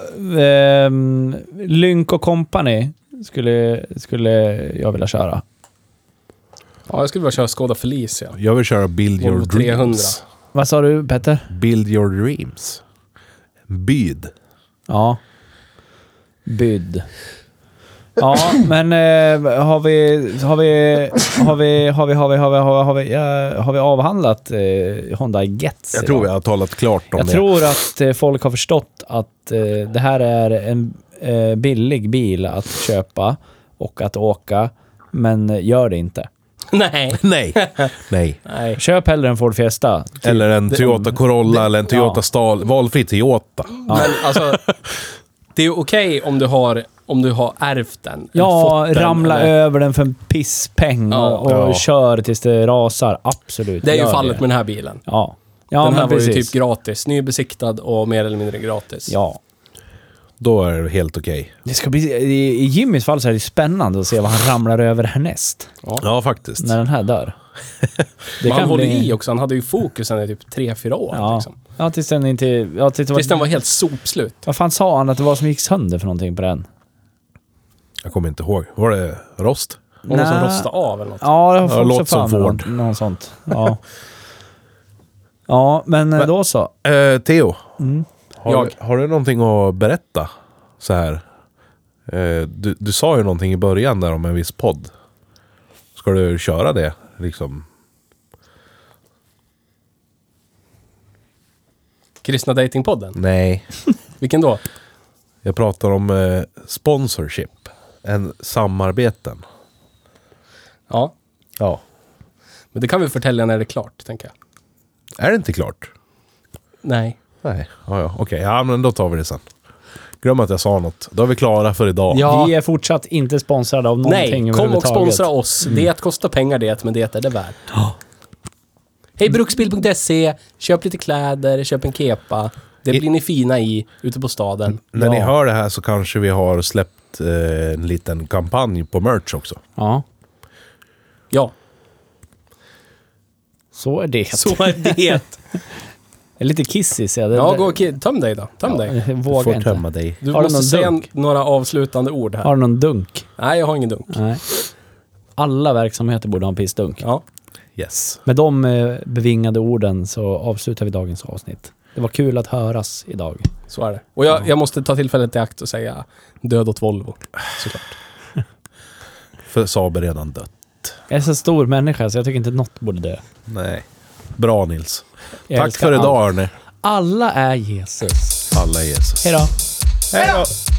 Speaker 3: ehm, Lynk och Company skulle, skulle jag vilja köra.
Speaker 2: Ja, jag skulle vilja köra Skoda Felicia.
Speaker 1: Jag vill köra Build Your
Speaker 2: Volvo 300.
Speaker 1: Dreams.
Speaker 3: Vad sa du, Petter?
Speaker 1: Build Your Dreams. Byd.
Speaker 3: Ja. Bydd. Ja, men eh, har, vi, har, vi, har vi... Har vi... Har vi... Har vi... Har vi... Har vi, eh, har vi avhandlat eh, Honda Gets?
Speaker 1: Jag
Speaker 3: idag?
Speaker 1: tror vi har talat klart om
Speaker 3: Jag
Speaker 1: det.
Speaker 3: tror att eh, folk har förstått att eh, det här är en eh, billig bil att köpa och att åka, men gör det inte.
Speaker 2: Nej.
Speaker 1: Nej. Nej.
Speaker 2: Nej.
Speaker 3: Köp hellre en Ford Fiesta.
Speaker 1: Eller en Toyota Corolla eller en Toyota
Speaker 3: ja.
Speaker 1: Stal. Valfri Toyota.
Speaker 2: Men alltså, det är okej om du har om du har ärvt den. eller
Speaker 3: Ja,
Speaker 2: fått den,
Speaker 3: ramla
Speaker 2: eller-
Speaker 3: över den för en pisspeng
Speaker 2: Ja.
Speaker 3: och, och
Speaker 1: Ja.
Speaker 3: kör tills det rasar. Absolut.
Speaker 2: Det är ju
Speaker 3: gör
Speaker 2: fallet med den här bilen.
Speaker 3: Ja. ja
Speaker 2: den här
Speaker 3: men
Speaker 2: var ju
Speaker 3: precis.
Speaker 2: typ gratis. Nybesiktad och mer eller mindre gratis.
Speaker 3: Ja.
Speaker 1: Då är det helt okej.
Speaker 3: Det ska bli, i- I Jimmys fall så är det spännande att se vad han ramlar över härnäst.
Speaker 1: Ja, faktiskt.
Speaker 3: När den här dör. Det
Speaker 2: Men han
Speaker 3: kan
Speaker 2: håller
Speaker 3: bli-
Speaker 2: i också. Han hade ju fokusen i typ 3-4 år.
Speaker 3: Ja.
Speaker 2: Liksom.
Speaker 3: ja, tills den inte... Ja, tills det
Speaker 2: Tills
Speaker 3: var,
Speaker 2: den var helt sopslut.
Speaker 3: Vad fan sa han att det var som gick sönder för någonting på den?
Speaker 1: Jag kommer inte ihåg. Var det rost?
Speaker 2: Någon som
Speaker 3: Nä.
Speaker 2: rostade av eller något.
Speaker 3: Ja,
Speaker 1: Ja,
Speaker 3: det har jag också
Speaker 1: låter som
Speaker 3: fan någon,
Speaker 1: Ford.
Speaker 3: någon sånt. Ja. ja, men, eh,
Speaker 1: Men-
Speaker 3: då så.
Speaker 1: Eh, Theo. Har,
Speaker 2: Jag.
Speaker 1: har du någonting att berätta? Så här. Eh, du, du sa ju någonting i början där om en viss podd. Ska du köra det? Liksom.
Speaker 2: Kristna Datingpodden.
Speaker 1: Nej.
Speaker 2: Vilken då?
Speaker 1: Jag pratar om eh, sponsorship. En samarbeten.
Speaker 2: Ja.
Speaker 1: Ja.
Speaker 2: Men det kan vi förtälja när det är klart, tänker jag.
Speaker 1: Är det inte klart?
Speaker 2: Nej.
Speaker 1: Nej. Ja, ja. Okej, ja, men då tar vi det sen. Glöm att jag sa något. Då är vi klara för idag.
Speaker 2: Ja.
Speaker 3: Vi är fortsatt inte sponsrade av någonting
Speaker 2: Nej, kom och
Speaker 3: överhuvudtaget. Mm.
Speaker 2: sponsra oss. Det kostar pengar det, men det är det värt. Hej bruksbil.se, köp lite kläder, köp en kepa. Det
Speaker 1: I-
Speaker 2: blir ni fina i ute på staden.
Speaker 1: När ni
Speaker 3: Ja.
Speaker 1: hör det här så kanske vi har släppt eh, en liten kampanj på merch också.
Speaker 3: Ja,
Speaker 2: Ja,
Speaker 3: så är det.
Speaker 2: så är det.
Speaker 3: Jag är lite kissig ser jag. Det-
Speaker 2: Ja,
Speaker 3: det-
Speaker 2: gå och ki- töm dig då. Töm dig.
Speaker 3: Jag
Speaker 1: Du
Speaker 3: vågar
Speaker 1: får
Speaker 3: inte.
Speaker 1: tömma dig.
Speaker 2: Du
Speaker 3: Har du
Speaker 2: måste
Speaker 3: någon
Speaker 2: säga
Speaker 3: dunk?
Speaker 2: några avslutande ord här.
Speaker 3: Har du någon dunk?
Speaker 2: Nej, jag har ingen dunk.
Speaker 3: Nej. Alla verksamheter borde ha en pissdunk.
Speaker 2: Ja.
Speaker 1: Yes.
Speaker 3: Med de eh, bevingade orden så avslutar vi dagens avsnitt. Det var kul att höras idag.
Speaker 2: Så är det. Och jag, jag måste ta tillfället i akt och säga död åt Volvo. Såklart.
Speaker 1: För Saab är redan dött.
Speaker 3: Jag är så stor människa så jag tycker inte något borde dö.
Speaker 1: Nej. Bra Nils.
Speaker 3: Jag
Speaker 1: Tack
Speaker 3: älskar
Speaker 1: för
Speaker 3: allt.
Speaker 1: idag hörni.
Speaker 3: Alla är Jesus.
Speaker 1: Alla Jesus.
Speaker 3: Hej då.
Speaker 1: Hej då!